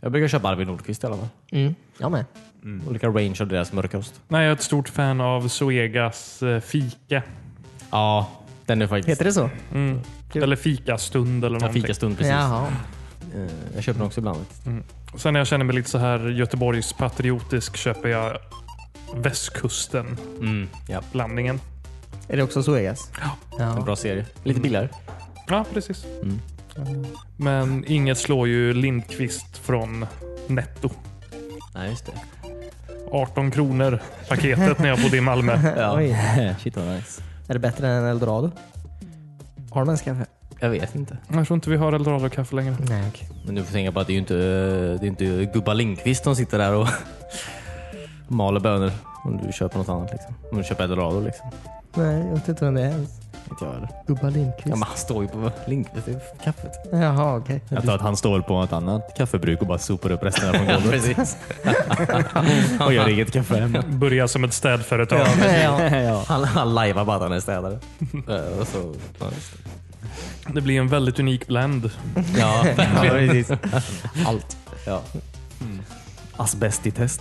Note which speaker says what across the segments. Speaker 1: Jag brukar köpa Arvid Nordqvist i alla fall.
Speaker 2: Mm. Jag med.
Speaker 1: Olika range av deras mörkost.
Speaker 3: Nej, jag är ett stort fan av Zoegas eh, fika.
Speaker 1: Ja, den är faktiskt...
Speaker 2: Heter det så?
Speaker 3: Mm.
Speaker 2: Kul.
Speaker 3: Eller fikastund eller
Speaker 1: Ja,
Speaker 3: någonting.
Speaker 1: fikastund precis.
Speaker 2: Jaha.
Speaker 1: Eh, Jag köper den också ibland.
Speaker 3: Sen när jag känner mig lite så här Göteborgs patriotisk köper jag västkusten
Speaker 1: Mm, ja.
Speaker 3: blandningen.
Speaker 2: Är det också Zoegas? Ja.
Speaker 1: En bra serie. Lite billigare.
Speaker 3: Ja, precis.
Speaker 1: Mm.
Speaker 3: Men inget slår ju Lindqvist från Netto.
Speaker 1: Nej, just det.
Speaker 3: 18 kronor paketet när jag bodde i Malmö.
Speaker 1: Ja.
Speaker 2: Oj.
Speaker 1: Shit vad nice.
Speaker 2: Är det bättre än Eldorado? Har de ens kaffe?
Speaker 1: Jag vet inte.
Speaker 3: Jag tror inte vi har Eldorado-kaffe längre.
Speaker 2: Nej, okej.
Speaker 1: Men du får tänka på att det är ju inte, eh, det är inte gubba Lindqvist som sitter där och maler bönor. Om du köper något annat liksom. Om du köper Eldorado liksom.
Speaker 2: Nej, jag vet inte vem det är ens.
Speaker 1: Inte jag heller.
Speaker 2: Gubba Lindqvist.
Speaker 1: Ja, men han står ju på Lindqvist, det är kaffet.
Speaker 2: Jaha, okej.
Speaker 4: Jag tror att han står på ett annat kaffebruk och bara sopar upp resten från golvet
Speaker 1: precis.
Speaker 4: och gör eget kaffe hemma.
Speaker 3: Börja som ett städföretag.
Speaker 2: Ja.
Speaker 1: Han, han lajvar bara att han är städare. Eh, och så, ja, just det.
Speaker 3: Det blir en väldigt unik blend.
Speaker 1: ja,
Speaker 4: Ja, precis.
Speaker 1: allt. Ja.
Speaker 4: Asbest i test.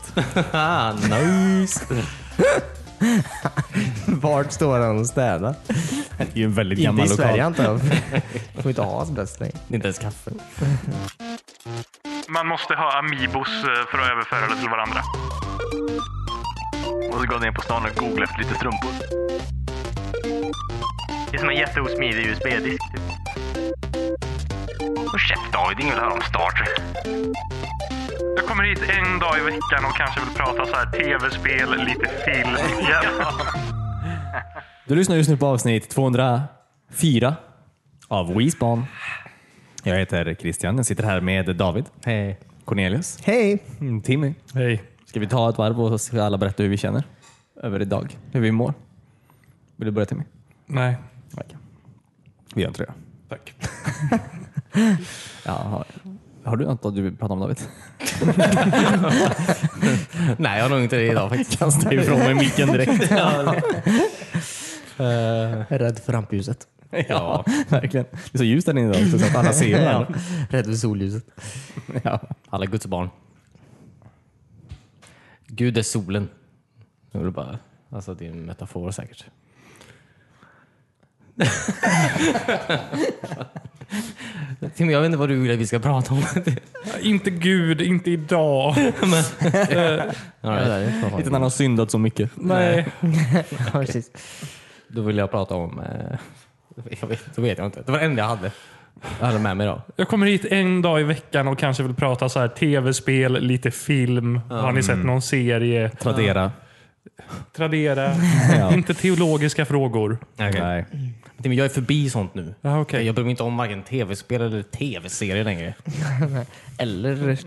Speaker 1: Ah, nice!
Speaker 2: Vart står han och städar?
Speaker 4: Det är ju en väldigt
Speaker 2: Inte
Speaker 4: gammal
Speaker 2: i
Speaker 4: lokal.
Speaker 2: Sverige antar jag. får inte ha asbest längre.
Speaker 1: Det är inte ens kaffe.
Speaker 3: Man måste ha Amibos eh, för att överföra det till varandra.
Speaker 5: Och så går jag ner på stan och googlar efter lite strumpor. Det är som en jätteosmidig USB-disk. Typ. Och käft David, ingen vill höra om Star Trek.
Speaker 3: Jag kommer hit en dag i veckan och kanske vill prata så här tv-spel, lite film.
Speaker 4: Du lyssnar just nu på avsnitt 204 av WeSpan. Jag heter Christian. Jag sitter här med David,
Speaker 1: Hej.
Speaker 4: Cornelius,
Speaker 2: Hej!
Speaker 4: mm, Timmy.
Speaker 3: Hej.
Speaker 4: Ska vi ta ett varv och så ska alla berätta hur vi känner över idag? Hur vi mår? Vill du börja Timmy?
Speaker 3: Nej,
Speaker 4: Vi gör inte det.
Speaker 3: tack.
Speaker 4: Ja, har, har du något du vill prata om David?
Speaker 1: Nej, jag har nog inte det idag faktiskt.
Speaker 4: Kasta ifrån mig micken direkt.
Speaker 2: Rädd för rampljuset.
Speaker 4: ja, verkligen. Det är så ljust där inne idag också, så att alla ser
Speaker 2: Ja.
Speaker 4: varandra.
Speaker 2: Rädd för solljuset.
Speaker 4: Ja.
Speaker 1: Alla Guds barn. Gud är solen. Jag vill bara, alltså det är en metafor säkert. Tim, jag vet inte vad du vill att vi ska prata om.
Speaker 3: Inte Gud, inte idag.
Speaker 1: All right.
Speaker 4: Inte när han har syndat så mycket.
Speaker 3: Nej.
Speaker 2: Ja, precis.
Speaker 1: Då vill jag prata om... Eh, jag vet, då vet jag inte. Det var det enda jag hade. Jag hade med mig idag.
Speaker 3: Jag kommer hit en dag i veckan och kanske vill prata så här tv-spel, lite film. Har ni
Speaker 4: Mm.
Speaker 3: sett någon serie?
Speaker 4: Tradera.
Speaker 3: Tradera.
Speaker 4: Ja.
Speaker 3: Inte teologiska frågor.
Speaker 4: Nej.
Speaker 1: Tim, jag är förbi sånt nu.
Speaker 3: Ja, okej.
Speaker 1: Jag bryr mig inte om varken tv-spel eller tv-serier längre.
Speaker 2: Eller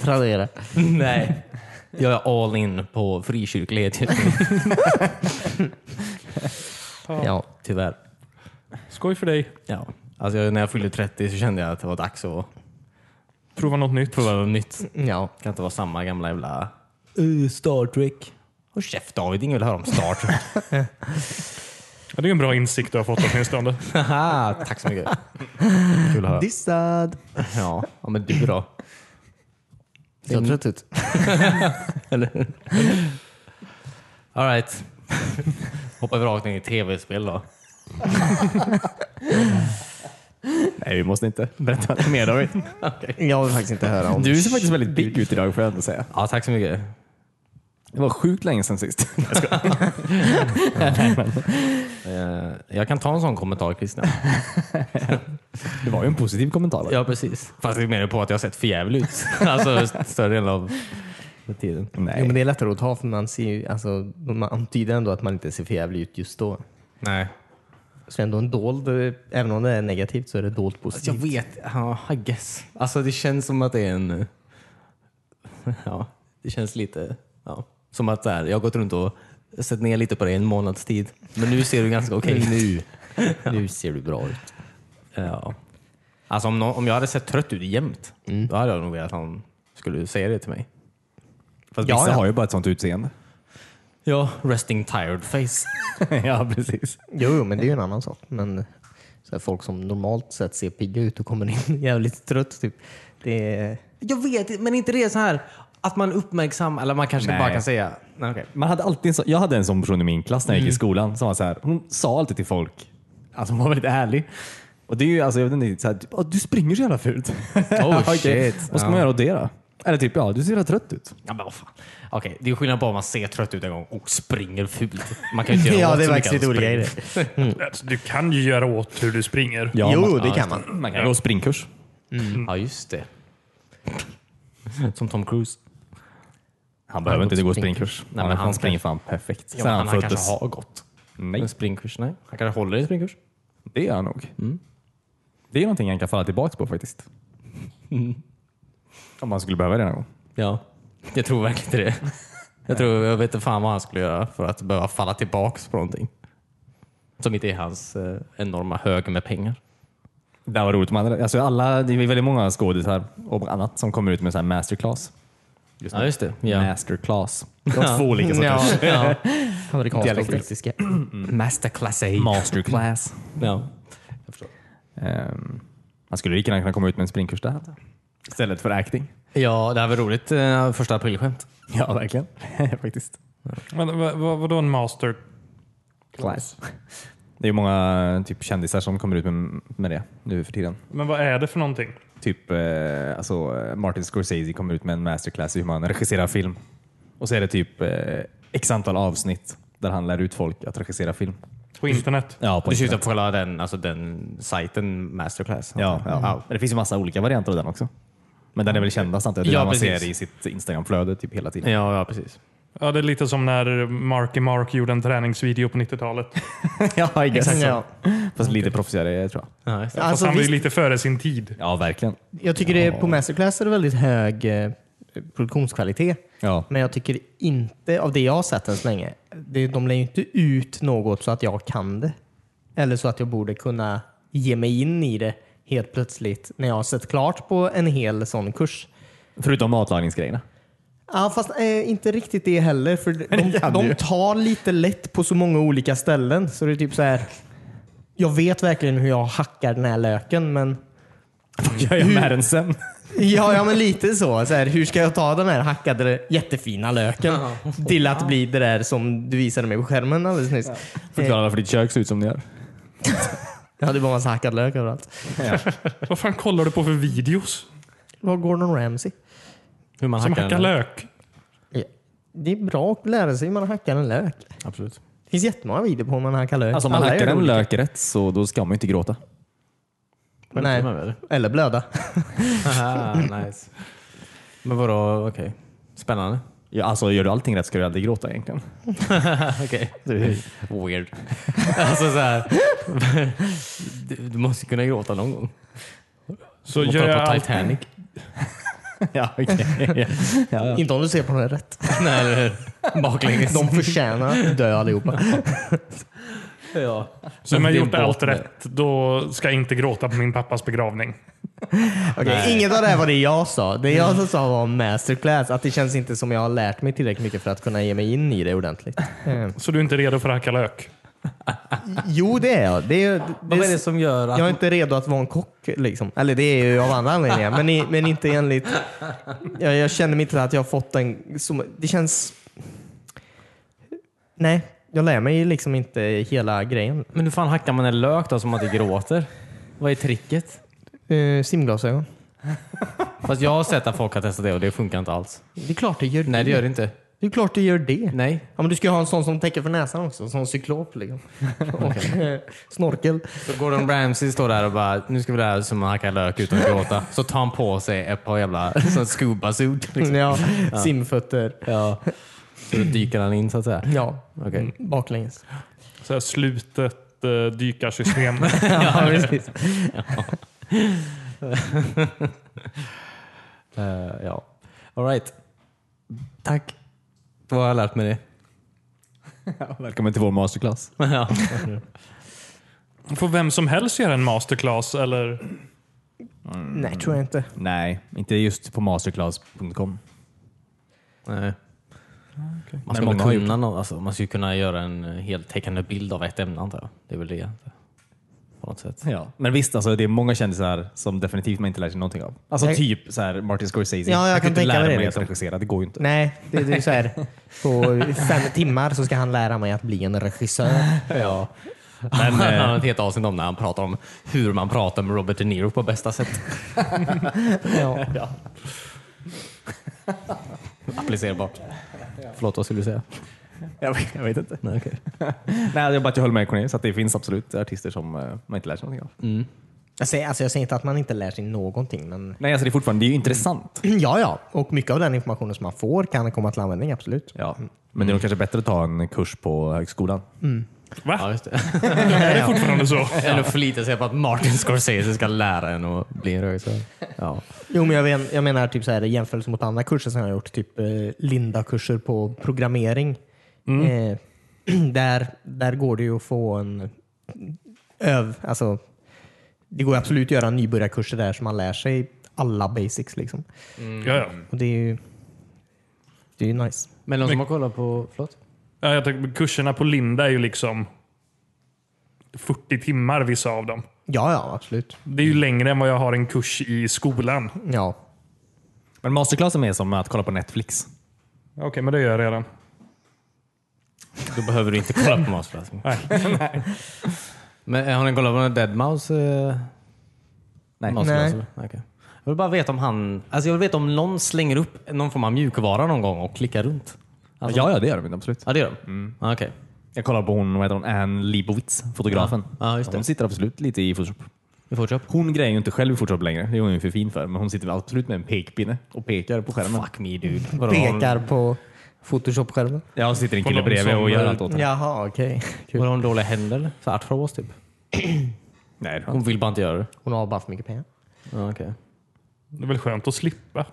Speaker 2: Tradera.
Speaker 1: Nej. Jag är all in på frikyrklighet just nu,
Speaker 2: Ja.
Speaker 1: tyvärr.
Speaker 3: Skoj för dig.
Speaker 1: Ja. Alltså, jag- när jag fyllde 30 så kände jag att det var dags att
Speaker 3: Prova något nytt.
Speaker 1: prova något nytt.
Speaker 2: ja.
Speaker 1: Det kan inte vara samma gamla jävla... Mm. Uh, Star Trek. Och chef David, ingen vill höra om Star Trek.
Speaker 3: Ja, det är en bra insikt du har fått åtminstone.
Speaker 1: Haha, Tack så mycket. Kul att höra.
Speaker 2: Dissad!
Speaker 1: Ja, ja, men du då?
Speaker 2: Ser jag trött ut?
Speaker 1: Eller? All right. Hoppar vi rakt in i tv-spel då.
Speaker 4: Nej, vi måste inte berätta mer David.
Speaker 2: Jag vill faktiskt inte höra om
Speaker 4: Du ser faktiskt väldigt pigg ut idag får jag ändå säga.
Speaker 1: Ja, tack så mycket.
Speaker 4: Det var sjukt länge sedan sist.
Speaker 1: Eh, Jag kan ta en sån kommentar Christian.
Speaker 4: Det var ju en positiv kommentar.
Speaker 1: Ja, precis. Fast det menar på att jag har sett för jävligt ut. Alltså st- större delen av tiden.
Speaker 2: Jo, men
Speaker 4: Nej.
Speaker 2: det är lättare att ta för man ser ju, alltså, man antyder ändå att man inte ser för jävlig ut just då.
Speaker 1: Nej.
Speaker 2: Så ändå en dold, eh, även om det är negativt så är det dolt
Speaker 1: Alltså, jag
Speaker 2: positivt.
Speaker 1: vet. Ja, I guess. Alltså det känns som att det är en... Ja, det känns lite... Ja, som att så här, jag har gått runt och sett ner lite på dig en månads tid. Men nu ser du ganska okej ut.
Speaker 2: nu, nu ser du bra ut.
Speaker 1: Ja. Mm. Alltså om, nå- om jag hade sett trött ut jämt, då hade jag nog velat att han skulle säga det till mig.
Speaker 4: Fast
Speaker 2: Ja,
Speaker 4: vissa
Speaker 2: ja.
Speaker 4: har ju bara ett sånt utseende.
Speaker 1: Ja, resting tired face.
Speaker 4: ja, precis.
Speaker 2: Jo, jo, men det är ju en annan sak. Men så här, folk som normalt sett ser pigga ut och kommer in jävligt trött. Typ. Det är,
Speaker 1: Jag vet, men inte det så här att man uppmärksammar, eller man kanske
Speaker 4: Nej.
Speaker 1: bara kan säga. Nej, okej.
Speaker 4: Man hade alltid en så, jag hade en sån person i min klass när jag gick i skolan. Som var så här, hon sa alltid till folk, alltså hon var väldigt ärlig. Och det är ju alltså, jag vet inte, så här, typ, "Åh, du springer så jävla fult.
Speaker 1: Oh,
Speaker 4: Okej,
Speaker 1: shit.
Speaker 4: Vad ska man
Speaker 1: Ja.
Speaker 4: göra åt det då? Eller typ, ja du ser rätt trött ut.
Speaker 1: Ja, men vad fan. Okej, det är skillnad på om man ser trött ut en gång och springer fult. Man kan ju inte göra något så mycket annat än springa.
Speaker 3: Alltså, du kan ju göra åt hur du springer.
Speaker 4: Ja,
Speaker 2: Jo,
Speaker 4: man-
Speaker 2: det
Speaker 4: ja,
Speaker 2: kan
Speaker 4: just
Speaker 2: man.
Speaker 4: Man kan gå springkurs.
Speaker 1: Ja, just det. Som Tom Cruise.
Speaker 4: Han behöver inte gå
Speaker 1: gått springkurs.
Speaker 4: springkurs.
Speaker 1: Nej,
Speaker 4: han,
Speaker 1: men
Speaker 4: han
Speaker 1: han
Speaker 4: springer fan perfekt.
Speaker 1: Ja,
Speaker 4: Sen
Speaker 1: men han, han
Speaker 4: föddes.
Speaker 1: kanske har gått
Speaker 4: Nej,
Speaker 1: en springkurs. Nej. Han kanske håller i springkurs.
Speaker 4: det gör han nog.
Speaker 1: Mm.
Speaker 4: Det är någonting han kan falla tillbaka på faktiskt. Om man skulle behöva det någon gång.
Speaker 1: Ja, jag tror verkligen inte det. Jag tror, jag vet inte fan vad han skulle göra för att behöva falla tillbaks på någonting. Som inte är hans eh, enorma hög med pengar.
Speaker 4: Det här var roligt. Man, alltså alla, det är väldigt många skådisar och annat som kommer ut med så här masterclass.
Speaker 1: ja, just det. Ja.
Speaker 4: Masterclass. Det var två olika sorters.
Speaker 1: Ja.
Speaker 2: Amerikanska och
Speaker 1: Dialekter.
Speaker 2: brittiska.
Speaker 1: Masterclass A.
Speaker 4: Masterclass.
Speaker 1: Ja.
Speaker 4: Ehm, man skulle lika gärna kunna komma ut med en springkurs där. Istället för acting.
Speaker 1: ja, det här var roligt. eh, Första aprilskämt.
Speaker 4: Ja, verkligen. Faktiskt.
Speaker 3: Men, vad, vad, vadå en master?
Speaker 4: Class. Det är ju många typ, kändisar som kommer ut med, med det nu för tiden.
Speaker 3: Men vad är det för någonting?
Speaker 4: Typ eh, alltså, eh, Martin Scorsese kommer ut med en masterclass i hur man regisserar film. Och så är det typ eh, x antal avsnitt där han lär ut folk att regissera film.
Speaker 3: På
Speaker 4: Mm.
Speaker 3: internet?
Speaker 4: Ja,
Speaker 1: Du syftar på hela den, alltså den sajten Masterclass?
Speaker 4: Ja, ja. Men det finns ju massa olika varianter av den också. Men den är väl kändast antar jag. Det är
Speaker 1: Ja,
Speaker 4: den man
Speaker 1: precis.
Speaker 4: ser i sitt Instagramflöde typ hela tiden.
Speaker 1: Ja, ja precis.
Speaker 3: Ja, det är lite som när Marky Mark gjorde en träningsvideo på 90-talet.
Speaker 4: ja, I guess.
Speaker 2: Exakt så.
Speaker 4: Ja. Fast lite proffsigare tror jag.
Speaker 1: Ja, just det.
Speaker 3: Fast
Speaker 2: Alltså,
Speaker 3: han var ju
Speaker 2: visst,
Speaker 3: lite före sin tid.
Speaker 4: Ja, verkligen.
Speaker 2: jag tycker det, på Masterclass är det väldigt hög eh, produktionskvalitet.
Speaker 4: Ja.
Speaker 2: Men jag tycker inte, av det jag har sett än så länge, det, de lägger ju inte ut något så att jag kan det. Eller så att jag borde kunna ge mig in i det helt plötsligt när jag har sett klart på en hel sån kurs.
Speaker 4: Förutom matlagningsgrejerna.
Speaker 2: Ja, fast eh, inte riktigt det heller. För
Speaker 4: kan
Speaker 2: de,
Speaker 4: du
Speaker 2: de
Speaker 4: ju.
Speaker 2: tar lite lätt på så många olika ställen. Så det är typ så här. Jag vet verkligen hur jag hackar den här löken, men
Speaker 4: Vad gör jag med den sen?
Speaker 2: Ja, ja men lite så. så här, hur ska jag ta den här hackade jättefina löken till att bli det där som du visade mig på skärmen alldeles nyss?
Speaker 4: Förklara varför ditt kök ser ut som det gör.
Speaker 2: Jag hade bara massa hackad lök överallt.
Speaker 3: Vad fan kollar du på för videos?
Speaker 2: Var Gordon Ramsay?
Speaker 1: Hur man
Speaker 3: Som
Speaker 1: hackar
Speaker 3: hackar
Speaker 1: en-
Speaker 3: lök?
Speaker 2: Ja. Det är bra att lära sig hur man hackar en lök.
Speaker 1: Absolut.
Speaker 2: Det finns jättemånga videor på hur man hackar lök.
Speaker 4: Alltså om man
Speaker 2: Alla
Speaker 4: hackar
Speaker 2: gör
Speaker 4: en
Speaker 2: olika.
Speaker 4: lök rätt så då ska man ju inte gråta.
Speaker 2: Nej. Eller blöda.
Speaker 1: Aha, nice. Men vadå, okej. Spännande.
Speaker 4: Ja, alltså gör du allting rätt ska du aldrig gråta egentligen.
Speaker 1: Okej. Weird. alltså så här. Du, du måste kunna gråta någon gång.
Speaker 3: Så
Speaker 1: Man
Speaker 3: gör
Speaker 1: kollar
Speaker 3: jag
Speaker 1: på
Speaker 3: allt.
Speaker 1: Titanic.
Speaker 4: ja, okej. ja, ja.
Speaker 2: Inte om du ser på den rätt.
Speaker 1: Nej, eller hur? Baklänges.
Speaker 2: De förtjänar att dö allihopa.
Speaker 1: ja.
Speaker 3: Så om jag
Speaker 1: Det är
Speaker 3: gjort
Speaker 1: en båt
Speaker 3: allt
Speaker 1: med.
Speaker 3: rätt, då ska jag inte gråta på min pappas begravning.
Speaker 2: Okej, inget av det här var det jag sa. Det jag
Speaker 4: Mm.
Speaker 2: som sa var masterclass. Att det känns inte som jag har lärt mig tillräckligt mycket för att kunna ge mig in i det ordentligt. Eh,
Speaker 3: Så du är inte redo för att hacka lök?
Speaker 2: Jo, det är jag. Det är, det,
Speaker 1: Vad är det som gör att...
Speaker 2: Jag är inte redo att vara en kock. Liksom. Eller det är ju av andra anledningar. Men, i, men inte enligt... Jag, jag känner mig inte att jag har fått en... Som, det känns... Nej, jag lär mig liksom inte hela grejen.
Speaker 1: Men hur fan hackar man en lök då som man inte gråter? Vad är tricket?
Speaker 2: Uh, simglasögon.
Speaker 1: Fast jag har sett att folk har testat det och det funkar inte alls.
Speaker 2: Det är klart det gör det.
Speaker 1: Nej, det gör det inte.
Speaker 2: Det är klart det gör det.
Speaker 1: Nej.
Speaker 2: Ja, men du ska ju ha en sån som täcker för näsan också. Som cyklop. Liksom. Och, eh, snorkel.
Speaker 1: Så Gordon Ramsay står där och bara, nu ska vi lära oss hur man hackar lök utan att gråta. Så tar han på sig ett par jävla sån scuba-suit. Liksom.
Speaker 2: Ja, simfötter.
Speaker 1: Ja. Så då dyker han in så att säga.
Speaker 2: Ja, mm,
Speaker 1: Okej.
Speaker 2: baklänges.
Speaker 3: Så här, slutet eh, dykarsystem.
Speaker 2: Ja, precis.
Speaker 1: Eh, ja. All right. Tack. Då har jag lärt mig det.
Speaker 4: Välkommen till vår masterclass.
Speaker 1: ja.
Speaker 3: Får vem som helst göra en masterclass? Eller?
Speaker 2: Nej, tror jag inte.
Speaker 4: Nej, inte just på masterclass.com.
Speaker 1: Nej. Man
Speaker 4: Men
Speaker 1: skulle
Speaker 4: många har
Speaker 1: kunna, någon, alltså, man skulle kunna göra en heltäckande bild av ett ämne antar jag. Det är väl det. på något sätt.
Speaker 4: Ja. Men visst, alltså, det är många kändisar som definitivt man inte lär sig någonting av. Alltså
Speaker 2: Nej.
Speaker 4: typ så här, Martin Scorsese.
Speaker 2: Ja, jag
Speaker 4: Han
Speaker 2: kan
Speaker 4: inte
Speaker 2: tänka
Speaker 4: lära
Speaker 2: mig det,
Speaker 4: mig
Speaker 2: liksom.
Speaker 4: att regissera. Det går ju inte.
Speaker 2: Nej, det, det är ju så här. På fem timmar så ska han lära mig att bli en regissör.
Speaker 1: Ja. Men, han har ett helt avsnitt om när han pratar om hur man pratar med Robert De Niro på bästa sätt.
Speaker 2: Ja.
Speaker 1: Applicerbart. Förlåt, vad skulle du säga?
Speaker 4: Jag, vet, jag vet inte.
Speaker 1: Nej, okej.
Speaker 4: Nej, jag bara att jag höll med Cornelius att det finns absolut artister som eh, man inte lär sig någonting av.
Speaker 2: Jag, säger, alltså jag säger inte att man inte lär sig någonting, men
Speaker 4: Nej, alltså det är fortfarande det är ju intressant.
Speaker 2: ja, ja. Och mycket av den informationen som man får kan komma till användning, absolut.
Speaker 4: Ja. Mm. Men det är nog kanske bättre att ta en kurs på högskolan.
Speaker 1: Ja,
Speaker 3: Va?
Speaker 1: just det.
Speaker 3: Är det fortfarande så?
Speaker 1: Än att förlita sig på att Martin Scorsese ska lära en att bli en regissör. Ja.
Speaker 2: Jo, men jag, men, jag menar typ så här, i jämförelse mot andra kurser som jag har gjort, typ eh, Linda-kurser på programmering. Eh, där, där går det ju att få en öv... Alltså, det går absolut att göra nybörjarkurser där som man lär sig alla basics. Liksom.
Speaker 1: Mm.
Speaker 3: Ja, ja.
Speaker 2: Och det är ju det är ju nice.
Speaker 1: Men någon som har kollat på... Förlåt?
Speaker 3: Ja, jag tänker, kurserna på Linda är ju liksom 40 timmar vissa av dem.
Speaker 2: Ja, ja, absolut.
Speaker 3: Det är ju längre än vad jag har en kurs i skolan.
Speaker 2: Ja.
Speaker 4: Men masterclassen är som att kolla på Netflix.
Speaker 3: Okej, men det gör jag redan.
Speaker 1: Då behöver du inte kolla på Masterclass. Men eh, har ni kollat på någon Deadmau5? Eh,
Speaker 4: Nej.
Speaker 1: Masterclass,
Speaker 2: Nej.
Speaker 1: eller? Nej, okej. Jag vill bara veta om han... Alltså jag vill veta om någon slänger upp någon form av mjukvara någon gång och klickar runt. Alltså,
Speaker 4: Ja, ja, det gör de absolut.
Speaker 1: Ja, det gör de? Ah, Okej.
Speaker 4: Jag kollar på hon, vad heter hon? Ann Leibowitz, fotografen.
Speaker 1: Ja, ja, just det.
Speaker 4: Hon sitter absolut lite i Photoshop.
Speaker 1: Vi fortsätter.
Speaker 4: Hon grejer ju inte själv i Photoshop längre. Det är hon ju för fin för. Men hon sitter väl absolut med en pekpinne och pekar på skärmen.
Speaker 1: Fuck me dude. Vadå,
Speaker 2: Pekar på Photoshop-skärmen.
Speaker 4: Ja, hon sitter en
Speaker 3: På
Speaker 4: kille
Speaker 3: någon
Speaker 4: bredvid
Speaker 3: som,
Speaker 4: och gör
Speaker 3: eh,
Speaker 4: allt åt henne.
Speaker 2: Jaha, okej.
Speaker 1: Har hon, har hon dåliga händer eller? Så artros typ?
Speaker 4: Nej, det har hon
Speaker 1: Hon
Speaker 4: inte.
Speaker 1: vill bara inte göra det.
Speaker 2: Hon har bara för mycket pengar.
Speaker 1: Ah, okej.
Speaker 3: Det är väl skönt att slippa.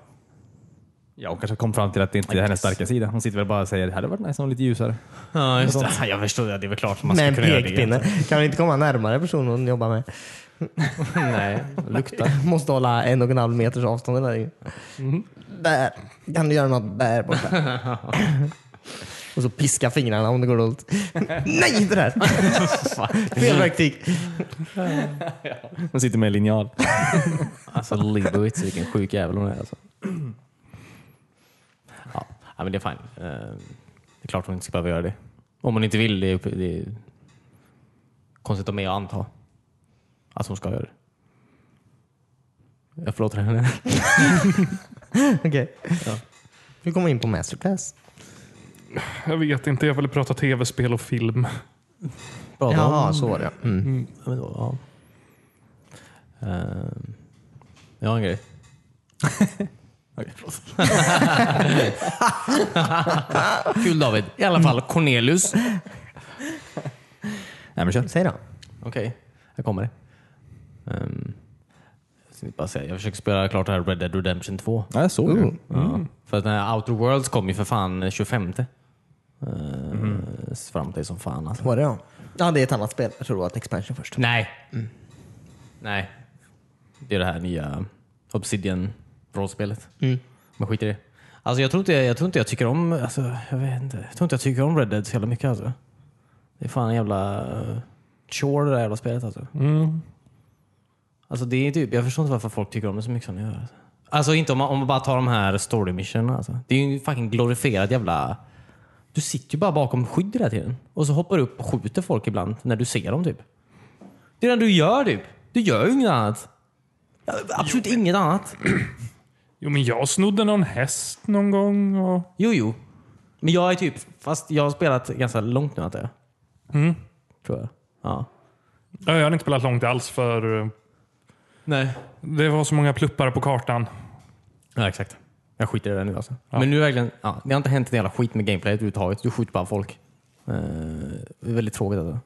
Speaker 4: ja, hon kanske kom fram till att det inte är hennes starka sida. Hon sitter väl bara och säger det hade varit nice om lite ljusare.
Speaker 1: Ja, just det. Jag förstår det. Det är väl klart man
Speaker 2: Med
Speaker 1: ska
Speaker 2: en
Speaker 1: kunna göra det.
Speaker 2: pekpinne. Kan vi inte komma närmare personen hon jobbar med?
Speaker 1: Nej, lukta.
Speaker 2: Måste hålla en och en halv meters avstånd. Där, Mm-hmm. där. Kan du göra något där borta? och så piska fingrarna om det går runt. Nej, inte där! Fel taktik.
Speaker 4: Hon sitter med en linjal.
Speaker 1: Alltså Leibowitz, vilken sjuk jävel hon är alltså. Ja, ja men det är fine. Eh, Det är klart hon inte ska behöva göra det. Om hon inte vill, det är, upp- det är konstigt av mig att anta att hon ska göra det. Jag förlåter henne.
Speaker 2: Okej. Vi kommer in på masterclass.
Speaker 3: Jag vet inte, jag ville prata tv-spel och film.
Speaker 1: Bra
Speaker 2: Jaha, så var det ja. mm.
Speaker 1: Ja, men då, ja. Ehm, jag har en grej. Kul David. I alla fall Cornelius.
Speaker 4: Nej, men kör.
Speaker 2: Säg då.
Speaker 1: Okej, här kommer det. Ehm, jag, ska bara säga, jag försöker spela klart det här Red Dead Redemption 2.
Speaker 4: Ja, jag såg det.
Speaker 1: Ja, för att den här Outer Worlds kom ju för fan 25. Uh, Fram till som fan alltså.
Speaker 2: Var det då? Ja, det är ett annat spel. Jag tror det var ett expansion först.
Speaker 1: Nej. Nej. Det är det här nya Obsidian-rollspelet. Men skit i det. Mm. Alltså jag tror inte jag, tror inte jag tycker om alltså, jag vet inte. Jag tror inte jag tycker om Red Dead så jävla mycket alltså. Det är fan en jävla eh, chore det där jävla spelet alltså. Alltså det är typ, jag förstår inte varför folk tycker om det så mycket som de gör. Alltså, alltså inte om man, om man bara tar de här story missionerna. Alltså. Det är ju en fucking glorifierad jävla... Du sitter ju bara bakom skydd hela tiden. Och så hoppar du upp och skjuter folk ibland när du ser dem typ. Det är det du gör typ. Du gör ju inget annat. Ja, Absolut inget annat.
Speaker 3: Jo, men jag snodde någon häst någon gång. Och...
Speaker 1: Jo, jo. Men jag är typ, fast jag har spelat ganska långt nu antar jag.
Speaker 3: Mm.
Speaker 1: Tror jag. Ja.
Speaker 3: Ja, Jag hade inte spelat långt alls för eh,
Speaker 1: Nej.
Speaker 3: det var så många pluppar på kartan.
Speaker 1: Ja, exakt. Jag skiter i det nu alltså. Men nu är det verkligen, ja, det har inte hänt en jävla skit med gameplayet överhuvudtaget. Du skjuter bara folk. Eh, det är väldigt tråkigt alltså.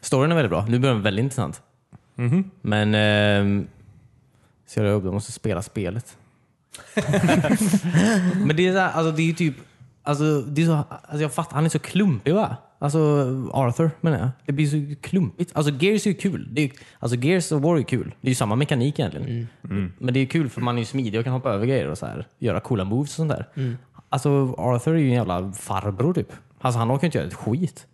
Speaker 1: Storyn är väldigt bra. Nu börjar den väldigt intressant. Men... ehm, ser jag upp, jag måste spela spelet. Men det är, så här, alltså, det är ju typ... Alltså, det är så, alltså, jag fattar, han är så klumpig va? Alltså Arthur menar jag. Det blir så klumpigt. Alltså Gears är ju kul. Det är, alltså Gears och War är ju kul. Det är ju samma mekanik egentligen. Men det är kul för man är ju smidig och kan hoppa över grejer och så här, göra coola moves och sånt där. Alltså Arthur är ju en jävla farbror typ. Alltså han orkar ju inte göra ett skit.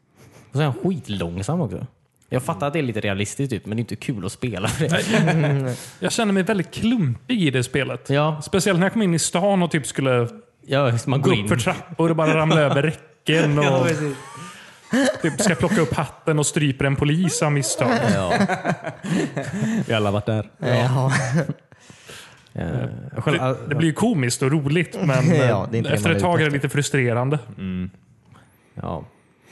Speaker 1: Och så är han skitlångsam också. Jag fattar att det är lite realistiskt typ, men det är inte kul att spela för det.
Speaker 3: Jag känner mig väldigt klumpig i det spelet.
Speaker 1: Ja.
Speaker 3: Speciellt när jag kom in i stan och typ skulle
Speaker 1: Ja, just, man
Speaker 3: gå
Speaker 1: går in.
Speaker 3: upp för trappor och bara ramla över räcken. Och
Speaker 1: precis.
Speaker 3: typ ska plocka upp hatten och stryper en polis av misstag.
Speaker 1: Ja.
Speaker 4: Vi har alla varit där.
Speaker 2: Ja.
Speaker 1: Eh, själv-
Speaker 3: Det, det blir ju komiskt och roligt, men eh,
Speaker 2: Ja, det är inte det
Speaker 3: efter
Speaker 2: man
Speaker 3: ett
Speaker 2: är
Speaker 3: tag
Speaker 2: ute
Speaker 3: är det lite frustrerande.
Speaker 1: Ja.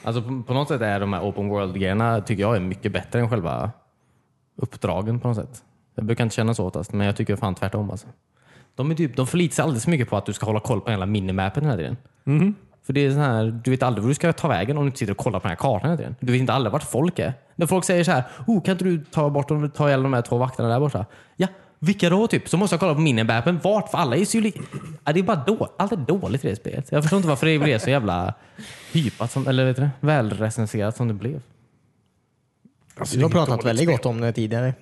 Speaker 1: Alltså på, på något sätt är de här open world-grejerna tycker jag är mycket bättre än själva uppdragen på något sätt. Jag brukar inte känna så oftast, men jag tycker fan tvärtom alltså. De, är typ, de förlitar sig alldeles för mycket på att du ska hålla koll på hela minimappen hela tiden. För det är sån här, du vet aldrig var du ska ta vägen om du inte sitter och kollar på den här kartan hela tiden. Du vet inte aldrig vart folk är. När folk säger så här, oh, kan inte du ta bort dem, ta ihjäl de här två vakterna där borta? Ja, vilka då typ? Så måste jag kolla på minimappen. Vart? För alla är ju li- ja, Det är bara dåligt. Allt är dåligt i det spelet. Jag förstår inte varför det blev så jävla hypat, som, eller vet du det? Välrecenserat som det blev.
Speaker 2: Du har pratat väldigt gott om det tidigare.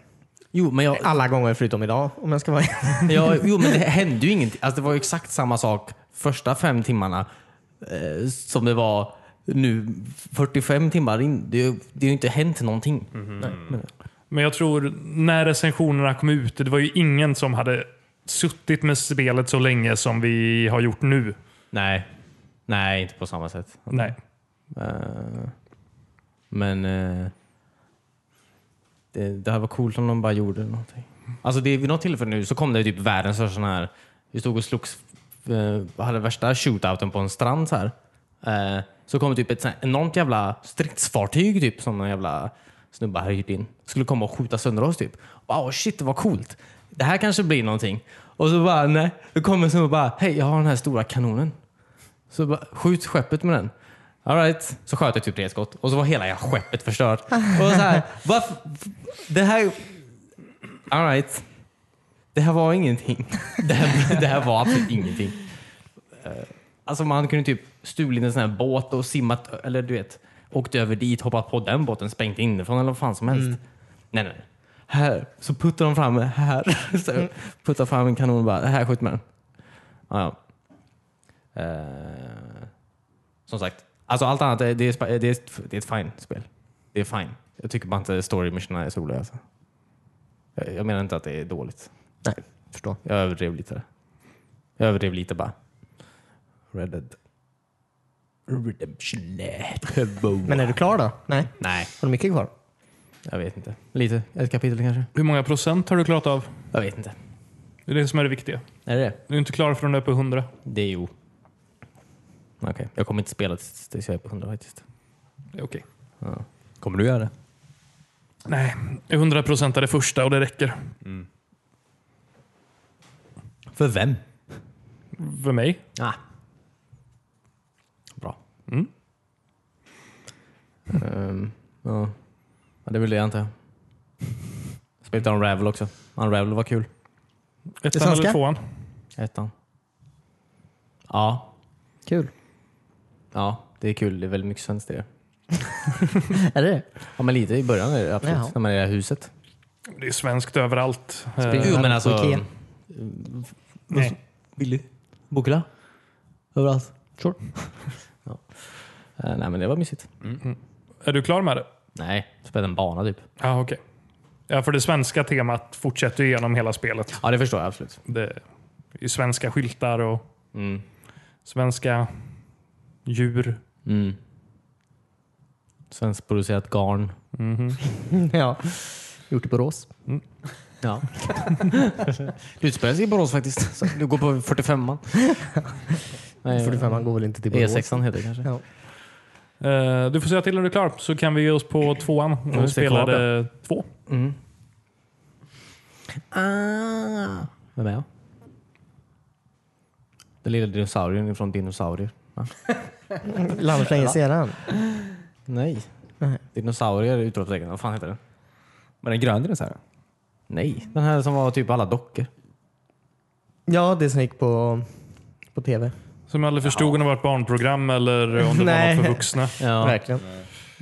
Speaker 1: Jo, men jag,
Speaker 2: Alla gånger förutom idag om jag ska vara
Speaker 1: Ja, jo, men det hände ju ingenting. Alltså, det var ju exakt samma sak första fem timmarna eh, som det var nu 45 timmar in. Det, är ju- det har ju inte hänt någonting.
Speaker 3: Men jag tror när recensionerna kom ut, det var ju ingen som hade suttit med spelet så länge som vi har gjort nu.
Speaker 1: Nej. Nej, inte på samma sätt.
Speaker 3: Nej.
Speaker 1: Eh, men eh, det, det här var coolt om de bara gjorde någonting. Alltså det, vid något tillfälle nu så kom det typ världens största sån här, vi stod och slogs, eh, hade värsta shootouten på en strand så här. Eh, så kom det typ ett sånt här enormt jävla stridsfartyg typ som någon jävla snubbe hade hyrt in. Skulle komma och skjuta sönder oss typ. Wow shit vad coolt. Det här kanske blir någonting. Och så bara nej, då kommer en snubbe och bara hej jag har den här stora kanonen. Så bara, skjut skeppet med den. All right. Så sköt jag typ tre skott och så var hela jävla skeppet förstört. Och så här, varför, det här... All right. Det här var ingenting. Det här, det här var absolut ingenting. Eh, Alltså man kunde typ stulit en sån här båt och simmat, eller du vet, åkt över dit, hoppat på den båten, sprängt inifrån eller vad fan som helst. Nej, nej. Här. Så puttar de fram, här. Så puttar fram en kanon och bara, här skjut med den. Ja, ja. Eh, som sagt, alltså allt annat är, det, är, spa- det, är, det är ett fine spel. Det är fine. Jag tycker bara inte storymissionerna är så roliga. Alltså. Jag, jag menar inte att det är dåligt.
Speaker 2: Nej, förstår.
Speaker 1: Jag överdrev lite. där. Jag överdrev lite bara. Red Dead Redemption.
Speaker 2: Men är du klar då? Nej.
Speaker 1: Nej,
Speaker 2: Har du mycket kvar?
Speaker 1: jag vet inte. Lite. Ett kapitel kanske?
Speaker 3: Hur många procent har du klarat av?
Speaker 1: Jag vet inte.
Speaker 3: Det är det som är det viktiga.
Speaker 1: Är det det?
Speaker 3: Du är inte klar förrän du är på 100.
Speaker 1: Det är ju... Okej, jag kommer inte spela tills tills jag är på 100 faktiskt.
Speaker 3: Det är okej.
Speaker 4: Kommer du göra det?
Speaker 3: Nej, 100 procent är det första och det räcker.
Speaker 1: För vem?
Speaker 3: För mig.
Speaker 1: Ah. Bra.
Speaker 3: Mm.
Speaker 1: Ehm, ja. ja, det vill jag antar jag. Spelade Unravel också. Unravel var kul.
Speaker 3: Ettan
Speaker 2: svenska?
Speaker 3: eller tvåan.
Speaker 1: Ettan. Ja,
Speaker 2: Kul.
Speaker 1: ja, det är kul. Det är väldigt mycket svenskt i det.
Speaker 2: Är det det?
Speaker 1: Ja, men lite i början är det absolut.
Speaker 2: Jaha.
Speaker 1: När man är i det här huset.
Speaker 3: Det är svenskt överallt. Mm. Eh,
Speaker 1: Jo, men
Speaker 2: på
Speaker 1: alltså...
Speaker 2: Ikea.
Speaker 3: nej.
Speaker 1: Billy. Bokla. Överallt. Sure. ja. Eh, nej, men det var mysigt.
Speaker 3: Är du klar med det?
Speaker 1: Nej, spelade en bana typ.
Speaker 3: Ja, okej. Ja, för det svenska temat fortsätter ju genom hela spelet.
Speaker 1: Ja, det förstår jag absolut.
Speaker 3: Det är ju svenska skyltar och
Speaker 1: Mm.
Speaker 3: svenska djur.
Speaker 1: Mm. Svenskproducerat garn.
Speaker 2: ja. Gjort i Borås.
Speaker 1: Ja. det utspelar sig i Borås faktiskt. Så du går på 45an. Nej, E
Speaker 2: 45 går väl inte till Borås?
Speaker 1: E6 heter det kanske.
Speaker 2: Ja.
Speaker 3: Eh, Du får säga till när du är klar så kan vi ge oss på tvåan.
Speaker 1: det är
Speaker 3: Och spela
Speaker 1: klart,
Speaker 3: det två.
Speaker 1: Ah. Vem är jag? Den lilla dinosaurien ifrån Dinosaurier. Ja.
Speaker 2: Landsängen sedan.
Speaker 1: Nej. Dinosaurier är utropstecken. Vad fan heter den?
Speaker 4: Var den grön dinosaurien?
Speaker 1: Nej. Den här som var typ alla dockor.
Speaker 2: Ja, det som gick på, på tv.
Speaker 3: Som jag aldrig förstod om det var ett barnprogram eller om det var
Speaker 2: Nej.
Speaker 3: något för vuxna.
Speaker 1: Ja.
Speaker 2: Verkligen.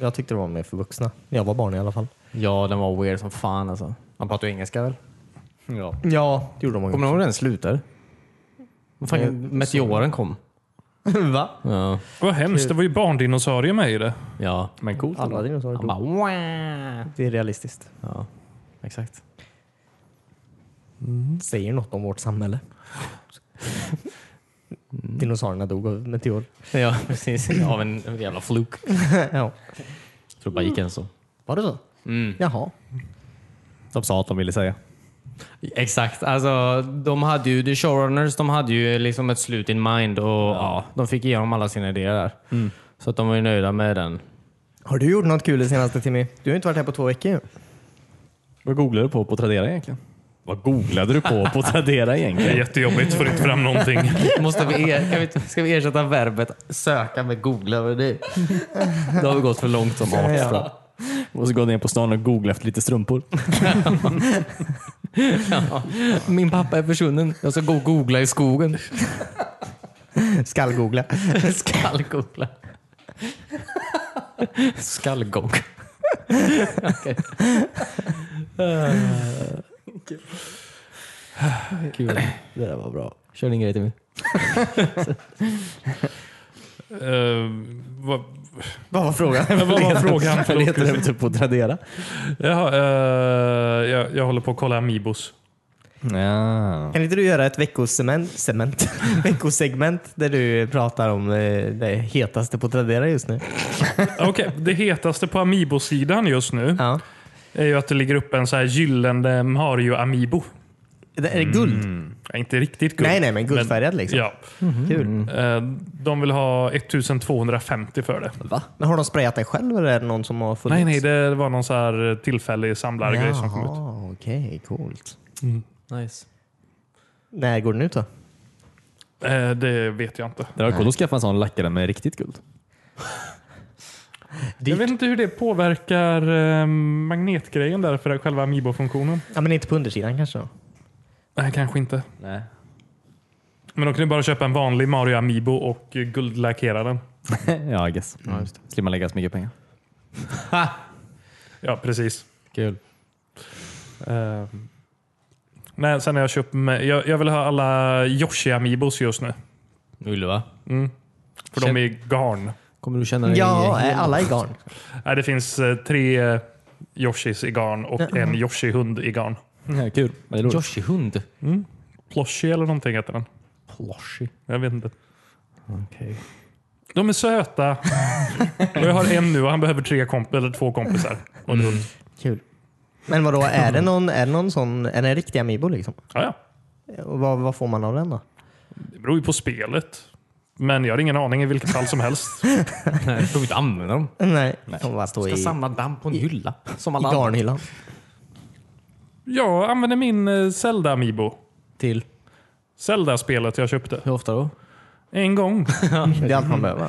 Speaker 2: Jag tyckte det var mer för vuxna. Jag var barn i alla fall.
Speaker 1: ja, den var weird som fan alltså. Man pratar ju engelska väl? Ja.
Speaker 2: Ja, det gjorde de.
Speaker 1: Kommer du ihåg när den slutar? Vad Fan,
Speaker 2: Nej,
Speaker 1: meteoren kom.
Speaker 2: Va?
Speaker 1: Ja.
Speaker 3: Vad hemskt, det var ju barndinosaurier med i det.
Speaker 1: ja.
Speaker 4: Men coolt.
Speaker 2: Alla dinosaurier
Speaker 1: Han
Speaker 2: dog.
Speaker 1: bara "Wah."
Speaker 2: Det är realistiskt.
Speaker 1: Ja, exakt.
Speaker 2: Säger något om vårt samhälle. Dinosaurierna dog av meteor.
Speaker 1: Ja, precis. Av en en jävla fluk.
Speaker 2: ja.
Speaker 1: Jag tror det bara gick en så.
Speaker 2: Var det så?
Speaker 1: Mm.
Speaker 2: Jaha.
Speaker 4: De sa att de ville säga.
Speaker 1: Exakt. Alltså, de hade ju, the showrunners, de hade ju liksom ett slut in mind och ja. Mm. de fick igenom alla sina idéer där. Så att de var ju nöjda med den.
Speaker 2: Har du gjort något kul den senaste timmen? Du har inte varit här på två veckor ju.
Speaker 4: Vad googlade du på på Tradera egentligen? Vad googlade du på på Tradera
Speaker 3: Det är
Speaker 4: egentligen?
Speaker 3: jättejobbigt, får inte fram någonting.
Speaker 1: Måste vi er, kan vi, inte- ska vi ersätta verbet söka med googla? Med det? Då har vi gått för långt som art. tror jag.
Speaker 4: Måste gå ner på stan och googla efter lite strumpor.
Speaker 1: Min pappa är försvunnen. Jag ska gå och googla i skogen.
Speaker 2: Skallgoogla.
Speaker 1: Skallgoogla. Skallgång. Okej. Eh, Kul. Det där var bra. Kör din grej till mig.
Speaker 3: Eh, vad,
Speaker 2: Vad var frågan?
Speaker 3: vad var frågan?
Speaker 4: Eller heter
Speaker 3: Förlåt.
Speaker 4: det typ på Tradera?
Speaker 3: Jaha, eh, jag, jag håller på att kolla Amibos.
Speaker 4: Ja.
Speaker 2: Kan inte du göra ett veckosegment, cement, veckosegment där du pratar om eh, det hetaste på Tradera just nu?
Speaker 3: Ah, Okej, det hetaste på Amiibo-sidan just nu
Speaker 2: Ja.
Speaker 3: är ju att det ligger upp en så här gyllene Mario Amiibo.
Speaker 2: Det är
Speaker 1: Mm.
Speaker 2: guld?
Speaker 3: Ja, inte riktigt guld.
Speaker 2: Nej, nej, men guldfärgad liksom.
Speaker 3: Ja.
Speaker 2: Kul.
Speaker 3: Eh, De vill ha 1250 för det.
Speaker 2: Va? Men har de sprayat dig själv eller är det någon som har funnits?
Speaker 3: Nej, nej, det var någon så här eh, tillfällig samlargrej som kom ut.
Speaker 2: Jaha, Okej, coolt.
Speaker 1: Nice.
Speaker 2: När går den ut då?
Speaker 3: Eh, Det vet jag inte.
Speaker 4: Det var coolt att skaffa en sån lackare med riktigt guld.
Speaker 3: Jag vet inte hur det påverkar eh, magnetgrejen där för själva Amiibo-funktionen.
Speaker 2: Ja, men inte på undersidan kanske? Då.
Speaker 3: Nej, kanske inte.
Speaker 4: Nej.
Speaker 3: Men de kunde bara köpa en vanlig Mario Amiibo och eh, guldlackera den.
Speaker 4: ja, I guess. Slipper man lägga så mycket pengar.
Speaker 3: Ja, precis.
Speaker 1: Kul.
Speaker 3: Eh, nej, sen har jag köpt med, jag, jag vill ha alla Yoshi Amiibos just nu.
Speaker 1: Vill du va?
Speaker 3: För de är i garn.
Speaker 1: Kommer du känna dig...
Speaker 2: Ja, är alla i garn.
Speaker 3: Nej, det finns eh, tre eh, Yoshis i garn och en Yoshi-hund i garn.
Speaker 4: Ja, kul. Det är roligt.
Speaker 1: Yoshi-hund?
Speaker 3: Ploshi eller någonting heter den.
Speaker 1: Ploshi.
Speaker 3: Jag vet inte. De är söta. och jag har en nu och han behöver tre komp eller två kompisar. Och en hund.
Speaker 2: Kul. Men vadå, är det någon, är det någon sån, är det en riktig Amiibo liksom?
Speaker 3: Ja, ja.
Speaker 2: Och vad, vad får man av den då?
Speaker 3: Det beror ju på spelet. Men jag har ingen aning i vilket fall som helst.
Speaker 1: Nej, jag kommer inte använda dem.
Speaker 2: Nej, de bara står
Speaker 1: Ska
Speaker 2: i,
Speaker 1: samla damm på en hylla. Som
Speaker 2: i
Speaker 1: alla andra.
Speaker 2: garnhyllan.
Speaker 3: Jag använder min eh, Zelda Amiibo.
Speaker 1: Till.
Speaker 3: Zelda-spelet jag köpte.
Speaker 1: Hur ofta då?
Speaker 3: En gång.
Speaker 2: Det är allt man behöver.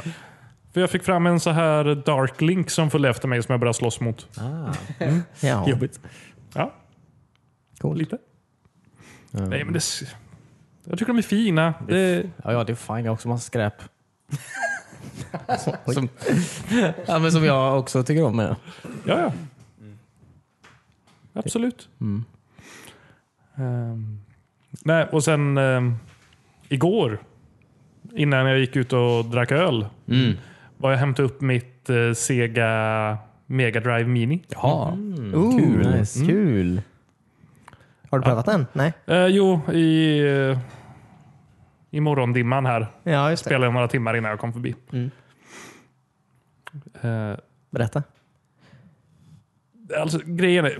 Speaker 3: För jag fick fram en så här Dark Link som följde efter mig som jag började slåss mot.
Speaker 2: Ja.
Speaker 4: Jobbigt.
Speaker 3: Ja,
Speaker 2: Coolt.
Speaker 3: lite. Nej, men det... s- Jag tycker de är fina. Det,
Speaker 1: Ja, ja, det är fine. Jag har också massa skräp. som, ja, men som jag också tycker om. Med.
Speaker 3: ja, ja. Absolut. Ehm, nej, och sen ehm, igår, innan jag gick ut och drack öl, var jag och hämtade upp mitt eh, Sega Mega Drive Mini.
Speaker 4: Jaha.
Speaker 2: Ooh,
Speaker 4: Kul.
Speaker 2: nice. Kul. Mm. Har du prövat den? Nej?
Speaker 3: Eh, jo, i, eh, i morgondimman här
Speaker 2: Ja, just det.
Speaker 3: spelade jag några timmar innan jag kom förbi. Eh,
Speaker 2: Berätta.
Speaker 3: alltså, grejen är,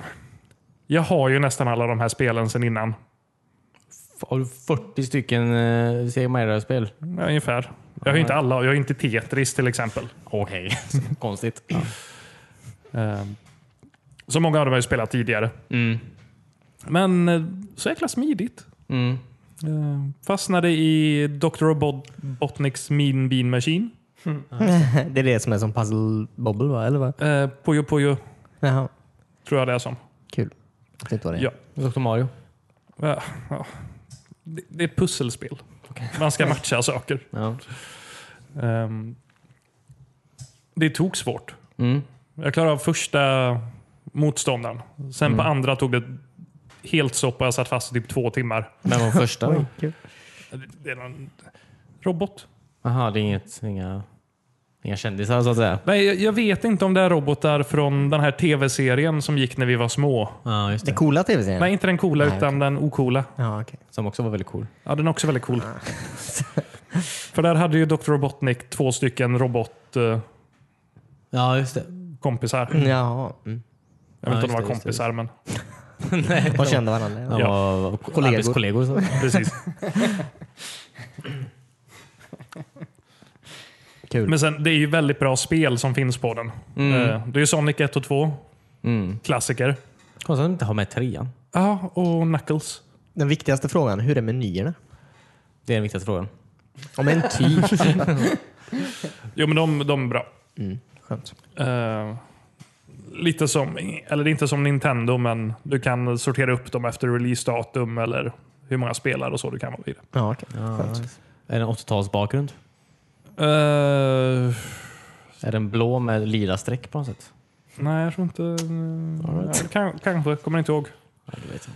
Speaker 3: jag har ju nästan alla de här spelen sen innan.
Speaker 1: Har du 40 stycken eh, Sega Mega-spel?
Speaker 3: Ja, ungefär. Jag har ju inte alla. Jag har ju inte Tetris till exempel.
Speaker 1: Okej, konstigt.
Speaker 3: Eh, så många av dem har jag ju spelat tidigare.
Speaker 1: Mm.
Speaker 3: Men eh, så jäkla smidigt.
Speaker 1: Mm.
Speaker 3: Eh, fastnade i Dr. Robotniks Mean Bean Machine.
Speaker 2: Det är det som är som Puzzle Bobble va? Eller vad?
Speaker 3: Eh, Puyo Puyo
Speaker 2: Jaha,
Speaker 3: tror jag det är som.
Speaker 2: kul. Jag vet inte vad det är.
Speaker 3: Ja.
Speaker 1: Dr. Mario.
Speaker 3: Ja, ja. Det, det är ett pusselspel. Man ska matcha saker.
Speaker 1: Ja.
Speaker 3: Ehm, det tog svårt.
Speaker 1: Mm.
Speaker 3: Jag klarade av första motståndaren. Sen på andra tog det helt stopp och jag satt fast i typ två timmar.
Speaker 1: Men var första då?
Speaker 2: Oj, kul.
Speaker 3: Det är någon robot.
Speaker 1: Jaha, det är inget, inga, inga kändisar så att säga?
Speaker 3: Nej, jag- jag vet inte om det är robotar från den här tv-serien som gick när vi var små.
Speaker 1: Ja, just
Speaker 2: Den
Speaker 1: det.
Speaker 2: coola tv-serien?
Speaker 3: Nej, inte den coola
Speaker 2: Nej,
Speaker 3: utan den okola.
Speaker 2: Ja, okej.
Speaker 1: Som också var väldigt cool.
Speaker 3: Ja, den är också väldigt cool. För där hade ju Dr. Robotnik två stycken robotkompisar.
Speaker 1: Ja, just det.
Speaker 2: Jaha. Mm.
Speaker 3: Jag vet
Speaker 1: Ja, just
Speaker 3: inte om de
Speaker 1: det,
Speaker 3: var
Speaker 1: just det, just
Speaker 3: kompisar, men
Speaker 1: Nej,
Speaker 2: De kände varandra. Ja.
Speaker 1: de var
Speaker 2: Kollegor.
Speaker 1: kollegor. kollegor så.
Speaker 3: precis.
Speaker 2: Kul.
Speaker 3: Men sen, det är ju väldigt bra spel som finns på den. Eh, Det är ju Sonic 1 och 2.
Speaker 1: Mm.
Speaker 3: Klassiker.
Speaker 1: Konstigt att de inte har med trean.
Speaker 3: Ja, och Knuckles.
Speaker 2: Den viktigaste frågan, hur är menyerna?
Speaker 1: Det är den viktigaste frågan.
Speaker 2: Ja men typ.
Speaker 3: Jo, men de, de är bra.
Speaker 2: Mm, skönt.
Speaker 3: Eh, lite som, eller inte som Nintendo, men du kan sortera upp dem efter releasedatum eller hur många spelare och så du kan vara i det.
Speaker 2: Ja, okej. Skönt.
Speaker 1: Är den 80-talsbakgrund?
Speaker 3: Eh,
Speaker 1: Är den blå med lila streck på något sätt?
Speaker 3: nej, jag tror inte... Ja, kan, kanske, kommer inte ihåg.
Speaker 1: Ja, det vet jag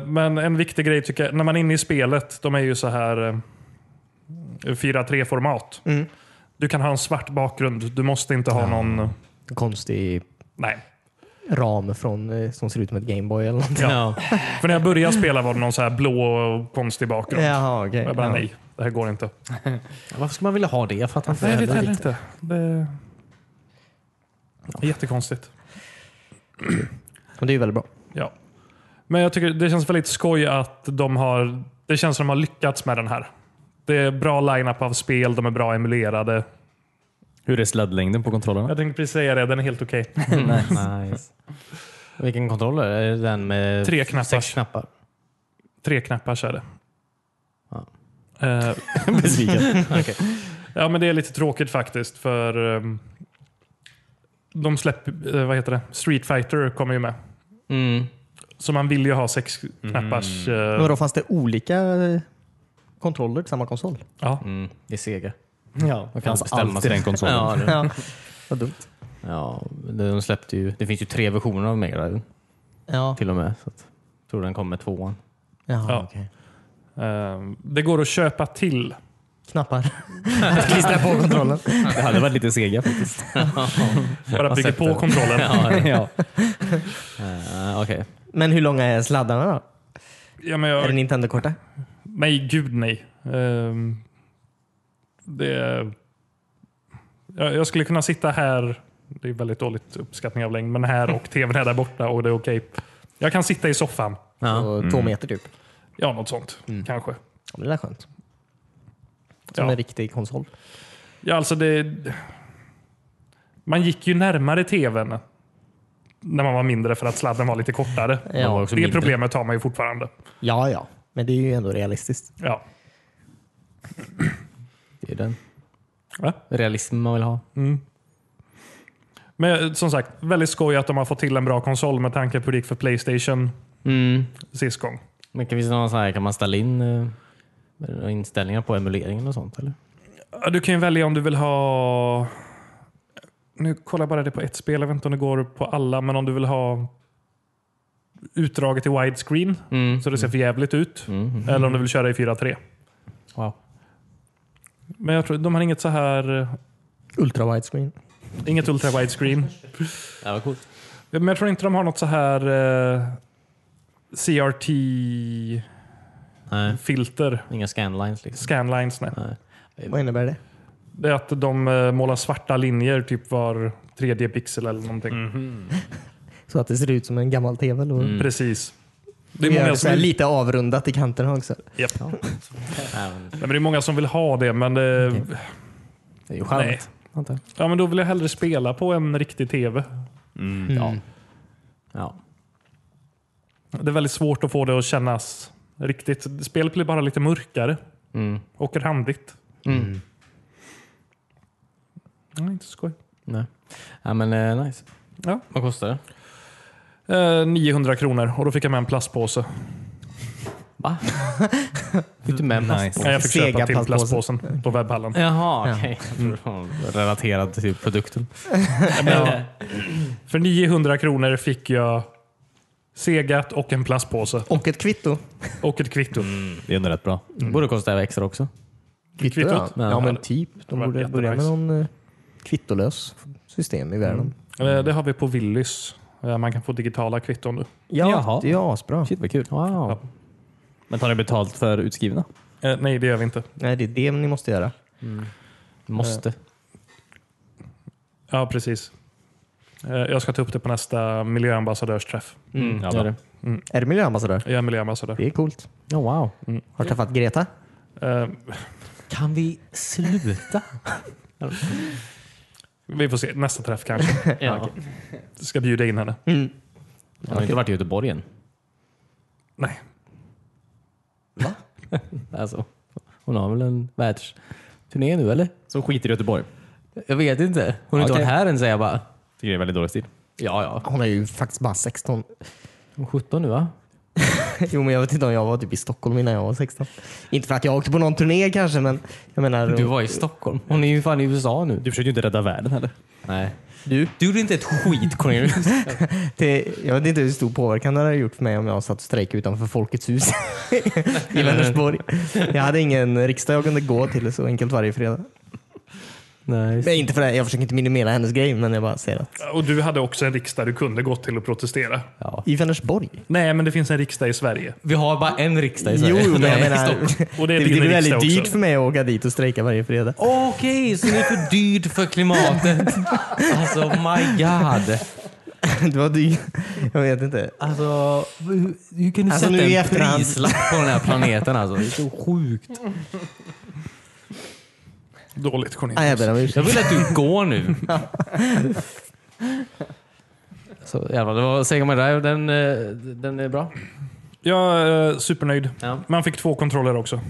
Speaker 1: inte.
Speaker 3: Eh, Men en viktig grej tycker jag, när man är inne i spelet, de är ju så här eh, 4-3-format.
Speaker 2: Mm.
Speaker 3: Du kan ha en svart bakgrund, du måste inte ha någon...
Speaker 2: Konstig
Speaker 3: Nej.
Speaker 2: ram från, eh, som ser ut som ett Gameboy eller någonting.
Speaker 1: Ja.
Speaker 3: För när jag började spela var det någon så här blå och konstig bakgrund.
Speaker 2: Jaha, okej.
Speaker 3: Jag bara, nej, det här går inte.
Speaker 1: Varför skulle man vilja ha det? Jag fattar inte.
Speaker 3: Nej, det
Speaker 1: heller.
Speaker 3: heller inte. Det... det är jättekonstigt.
Speaker 2: Men det är ju väldigt bra.
Speaker 3: Ja. Men jag tycker det känns väldigt skoj att de har, det känns som de har lyckats med den här. Det är bra line-up av spel, de är bra emulerade.
Speaker 4: Hur är sladdlängden på kontrollerna?
Speaker 3: Jag tänkte precis säga det, den är helt okej.
Speaker 1: Mm. nice. Vilken kontroll är det? Är det den med
Speaker 3: Tre knappar.
Speaker 1: sex knappar?
Speaker 3: Tre knappar så är det.
Speaker 1: Ja.
Speaker 3: Eh,
Speaker 4: Besviken.
Speaker 3: ja, men det är lite tråkigt faktiskt för ehm, de släpper, eh, vad heter det? Street Fighter kommer ju med.
Speaker 1: Mm.
Speaker 3: Så man vill ju ha sex knappars... eh,
Speaker 2: Men då fanns det olika eh, kontroller till samma konsol?
Speaker 3: ja.
Speaker 1: Mm. Det är Sega.
Speaker 2: Ja.
Speaker 1: Man
Speaker 4: Fanns allt i den konsolen.
Speaker 1: Ja, det-
Speaker 2: ja. Vad dumt.
Speaker 1: Ja, de släppte ju, det finns ju tre versioner av Mega Drive
Speaker 2: Ja.
Speaker 1: till och med. Så att, jag tror den kom med tvåan.
Speaker 2: Jaha,
Speaker 3: Ja.
Speaker 2: okej.
Speaker 3: Eh, det går att köpa till
Speaker 2: Knappar. Klistra på kontrollen.
Speaker 4: Det hade varit lite sega faktiskt.
Speaker 3: Bara bygger
Speaker 1: sett
Speaker 3: på
Speaker 1: det.
Speaker 3: kontrollen.
Speaker 4: ja.
Speaker 1: Uh, Okej.
Speaker 2: Men hur långa är sladdarna då?
Speaker 3: Ja, men
Speaker 2: Är det
Speaker 3: jag,
Speaker 2: Nintendo-korta?
Speaker 3: nej, gud nej. Ehm, det, jag, jag skulle kunna sitta här, det är väldigt dåligt uppskattning av längd, men här och tvn är där borta och det är okej. Jag kan sitta i soffan.
Speaker 1: Ja.
Speaker 2: Så Två meter typ?
Speaker 3: Ja, något sånt kanske.
Speaker 2: Ja, men det där är skönt. Mm. Som
Speaker 3: Ja.
Speaker 2: en riktig konsol.
Speaker 3: Ja, alltså det, man gick ju närmare tvn när man var mindre för att sladden var lite kortare.
Speaker 2: Ja,
Speaker 1: var
Speaker 3: det
Speaker 1: också mindre.
Speaker 3: problemet har man ju fortfarande.
Speaker 2: Ja, ja. Men det är ju ändå realistiskt.
Speaker 3: Ja.
Speaker 1: Det är den
Speaker 3: Va?
Speaker 1: realismen man vill ha.
Speaker 3: Men eh, som sagt, väldigt skoj att de har fått till en bra konsol med tanke på hur det gick för Playstation
Speaker 1: Mm.
Speaker 3: sist gång.
Speaker 1: Men kan, finns det någon så här, kan man ställa in eh, inställningar på emuleringen och sånt? Eller?
Speaker 3: Ja, Du kan ju välja om du vill ha... Nu kollar jag bara det på ett spel. Jag vet inte om det går på alla, men om du vill ha utdraget i widescreen
Speaker 1: Mm.
Speaker 3: så det ser för jävligt ut.
Speaker 1: Mm.
Speaker 3: Eller om du vill köra i 4.3.
Speaker 1: Wow.
Speaker 3: Men jag tror de har inget så här... eh,
Speaker 2: Ultra widescreen.
Speaker 3: Inget ultra widescreen.
Speaker 1: Ja, vad coolt.
Speaker 3: Men jag tror inte de har något så här eh, CRT-filter.
Speaker 1: Nej, inga scanlines liksom.
Speaker 3: Scanlines, nej.
Speaker 1: Nej.
Speaker 2: Vad innebär det?
Speaker 3: Det är att de eh, målar svarta linjer typ var tredje pixel eller någonting.
Speaker 2: Så att det ser ut som en gammal tv. Eller? Mm.
Speaker 3: Precis.
Speaker 2: Det
Speaker 3: Det är,
Speaker 2: gör
Speaker 3: många
Speaker 2: det så
Speaker 3: som
Speaker 2: här
Speaker 3: vill,
Speaker 2: lite avrundat i kanterna också.
Speaker 3: Japp. Nej,
Speaker 1: Nej, men
Speaker 3: men det är många som vill ha det, men, det,
Speaker 1: det är ju
Speaker 3: Nej.
Speaker 1: charmigt. antar jag.
Speaker 3: ja, men då vill jag hellre spela på en riktig tv.
Speaker 2: Mm.
Speaker 1: Mm.
Speaker 2: Ja.
Speaker 1: Ja.
Speaker 3: Det är väldigt svårt att få det att kännas riktigt. Spelet blir bara lite mörkare.
Speaker 1: Mm.
Speaker 3: Åker handigt.
Speaker 1: Mm.
Speaker 3: Nej, inte så skoj.
Speaker 1: Nej. Ja, men eh, nice.
Speaker 3: Ja.
Speaker 1: Vad kostar det?
Speaker 3: Eh, 900 kronor och då fick jag med en plastpåse.
Speaker 1: Va? Fick du med en
Speaker 4: Nice.
Speaker 3: Nej, jag fick
Speaker 2: Sega
Speaker 3: köpa till
Speaker 2: plastpåsen.
Speaker 3: plastpåsen på webbhallen.
Speaker 1: Jaha,
Speaker 2: Ja.
Speaker 1: okej. Jag trodde det var Relaterad till typ produkten.
Speaker 3: Men, för 900 kronor fick jag Segat och en plastpåse
Speaker 2: Och ett kvitto.
Speaker 3: och ett kvitto.
Speaker 1: Mm.
Speaker 4: Det är ändå rätt bra.
Speaker 1: Borde kosta extra också.
Speaker 2: Kvitto,
Speaker 3: Kvittot?
Speaker 2: Ja. ja, men typ. De
Speaker 3: Det var
Speaker 2: borde börja med
Speaker 3: jättenice.
Speaker 2: någon eh, kvittolös system i världen.
Speaker 3: Eh, Det har vi på Willys. Eh, Man kan få digitala kvitton nu.
Speaker 2: Ja,
Speaker 4: Jaha.
Speaker 2: det är asbra.
Speaker 4: Shit vad kul.
Speaker 1: Wow.
Speaker 4: Men tar ni betalt för utskrivna?
Speaker 3: Eh, Nej, det gör vi inte.
Speaker 2: Nej, det är det ni måste göra.
Speaker 1: Måste.
Speaker 3: Ja, precis. Eh, Jag ska ta upp det på nästa miljöambassadörsträff.
Speaker 1: Mm,
Speaker 4: ja,
Speaker 1: det är
Speaker 4: då.
Speaker 1: det.
Speaker 2: Är du miljöambassadör?
Speaker 3: Jag är miljöambassadör.
Speaker 2: Det är coolt.
Speaker 1: Ja, Oh, wow.
Speaker 2: Har du träffat Greta?
Speaker 3: Eh,
Speaker 1: Kan vi sluta?
Speaker 3: Vi får se. Nästa träff kanske.
Speaker 1: ja,
Speaker 3: Ska bjuda in henne.
Speaker 1: Jag har inte varit i Göteborg än.
Speaker 3: Nej.
Speaker 1: Alltså, hon har väl en världsturné nu eller?
Speaker 4: Som skiter i Göteborg.
Speaker 1: Jag vet inte. Hon har inte
Speaker 4: Okej.
Speaker 1: varit här än säger jag bara.
Speaker 4: Tycker det är väldigt dålig stil.
Speaker 1: Ja, ja.
Speaker 2: Hon är ju faktiskt bara 16.
Speaker 1: Hon är 17 nu va?
Speaker 2: jo, men jag vet inte om jag var typ i Stockholm innan jag var 16. Inte för att jag åkte på någon turné kanske, men jag menar...
Speaker 1: Du var i Stockholm. Hon är ju fan i USA nu.
Speaker 4: Du försöker ju inte rädda världen heller.
Speaker 1: Nej. Du? Du gjorde inte ett skit Cornelius.
Speaker 2: det, jag vet inte hur stor påverkan det hade gjort för mig om jag satt och strejkade utanför Folkets hus i Vänersborg. Jag hade ingen riksdag jag kunde gå till så enkelt varje fredag.
Speaker 1: Nej.
Speaker 2: Nej, inte för det. Jag försöker inte minimera hennes grej, men jag bara säger att
Speaker 3: Och du hade också en riksdag du kunde gått till och protestera.
Speaker 1: Ja.
Speaker 2: i Vänersborg.
Speaker 3: Nej, men det finns en riksdag i Sverige.
Speaker 1: Vi har bara en riksdag i
Speaker 2: Jo,
Speaker 1: Sverige.
Speaker 2: men jag
Speaker 1: Nej,
Speaker 2: menar,
Speaker 1: Stockholm.
Speaker 3: Och det är
Speaker 2: det
Speaker 3: din
Speaker 2: blir väldigt
Speaker 3: riksdag
Speaker 2: dyrt
Speaker 3: också.
Speaker 2: för mig att åka dit och strejka varje fredag.
Speaker 1: Okej, så det är för dyrt för klimatet. Alltså my god.
Speaker 2: Det var dyrt. Jag vet inte.
Speaker 1: Alltså, hur, hur kan du
Speaker 2: Alltså, nu
Speaker 1: sätta
Speaker 2: i
Speaker 1: en
Speaker 2: efterhand-
Speaker 1: prislapp på den här planeten alltså? Det är så sjukt.
Speaker 3: Dåligt
Speaker 2: Nej, Ah, jag
Speaker 3: Cornelius.
Speaker 2: ber om
Speaker 1: Jag
Speaker 2: ursäkt.
Speaker 1: vill att du går nu. Så jävlar, det var Sega Mega Drive. Den, eh, den är bra.
Speaker 3: Jag är supernöjd.
Speaker 1: Ja.
Speaker 3: Man fick två kontroller också.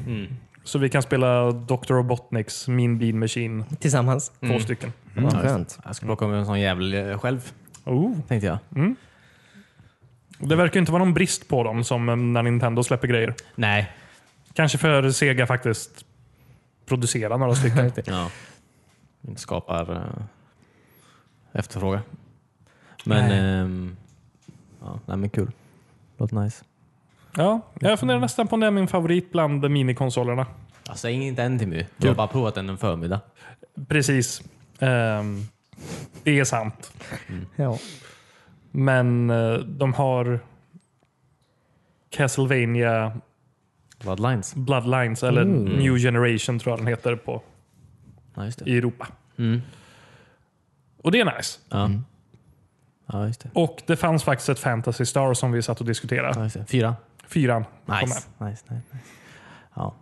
Speaker 3: Så vi kan spela Dr. Robotniks Min Bean Machine.
Speaker 2: Tillsammans.
Speaker 3: Två stycken.
Speaker 2: Vad skönt.
Speaker 1: Jag ska plocka med en sån jävel eh, själv,
Speaker 3: Oh.
Speaker 1: tänkte jag.
Speaker 3: Det verkar inte vara någon brist på dem som eh, när Nintendo släpper grejer.
Speaker 1: Nej.
Speaker 3: Kanske för Sega faktiskt producera några stycken.
Speaker 1: Ja. Det skapar eh, efterfrågan. Men, ehm, ja, nej, men kul. Låter nice.
Speaker 3: ja, jag funderar nästan på om det är min favorit bland minikonsolerna.
Speaker 1: Jag säger inte än Alltså, till mig. Jag har bara provat den en förmiddag.
Speaker 3: Precis. Ehm, det är sant.
Speaker 2: Ja.
Speaker 3: Men eh, de har Castlevania
Speaker 1: Bloodlines.
Speaker 3: Bloodlines, eller New Generation tror jag den heter på,
Speaker 1: Ja, just det.
Speaker 3: i Europa.
Speaker 1: Mm.
Speaker 3: Och det är nice.
Speaker 1: Ja. Ja, just det.
Speaker 3: Och det fanns faktiskt ett Fantasy Star som vi satt och diskuterade.
Speaker 1: Ja, just det. Fyra.
Speaker 3: Fyran kom med.
Speaker 1: Nice. nice, nice, nice. Ja.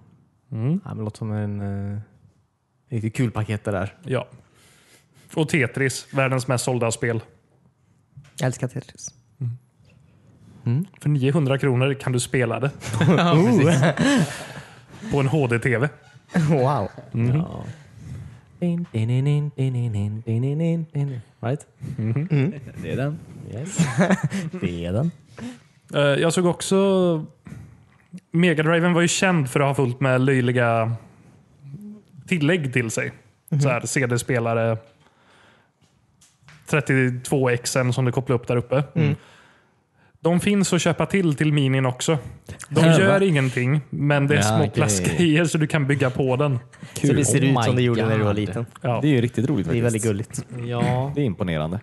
Speaker 1: ja men låter som en eh, riktigt kul paket det där.
Speaker 3: Ja. Och Tetris, världens mest sålda spel.
Speaker 2: Jag älskar Tetris.
Speaker 3: För 900 kronor kan du spela det
Speaker 2: Oh,
Speaker 3: på en HD-TV.
Speaker 2: wow.
Speaker 1: Ja. Din, din, din, din, din, din, din, din, din, din. Right?
Speaker 4: Det är den.
Speaker 1: Yes.
Speaker 2: Det är den.
Speaker 3: Eh, Jag såg också... Megadriven var ju känd för att ha fullt med löjliga tillägg till sig.
Speaker 1: Mhm.
Speaker 3: Så här, CD-spelare, 32Xen som du kopplar upp där uppe.
Speaker 1: Mm.
Speaker 3: De finns att köpa till till minin också. De
Speaker 1: Ja,
Speaker 3: gör
Speaker 1: va?
Speaker 3: ingenting, men det är
Speaker 1: Ja,
Speaker 3: små
Speaker 1: okej.
Speaker 3: plastgrejer så du kan bygga på den.
Speaker 2: Så det ser
Speaker 1: Oh
Speaker 2: ut som
Speaker 1: my
Speaker 2: det gjorde när du var
Speaker 1: God.
Speaker 2: liten.
Speaker 3: Ja.
Speaker 4: Det är ju riktigt roligt
Speaker 2: Det är
Speaker 4: faktiskt.
Speaker 2: väldigt gulligt.
Speaker 1: Ja.
Speaker 4: Det är imponerande.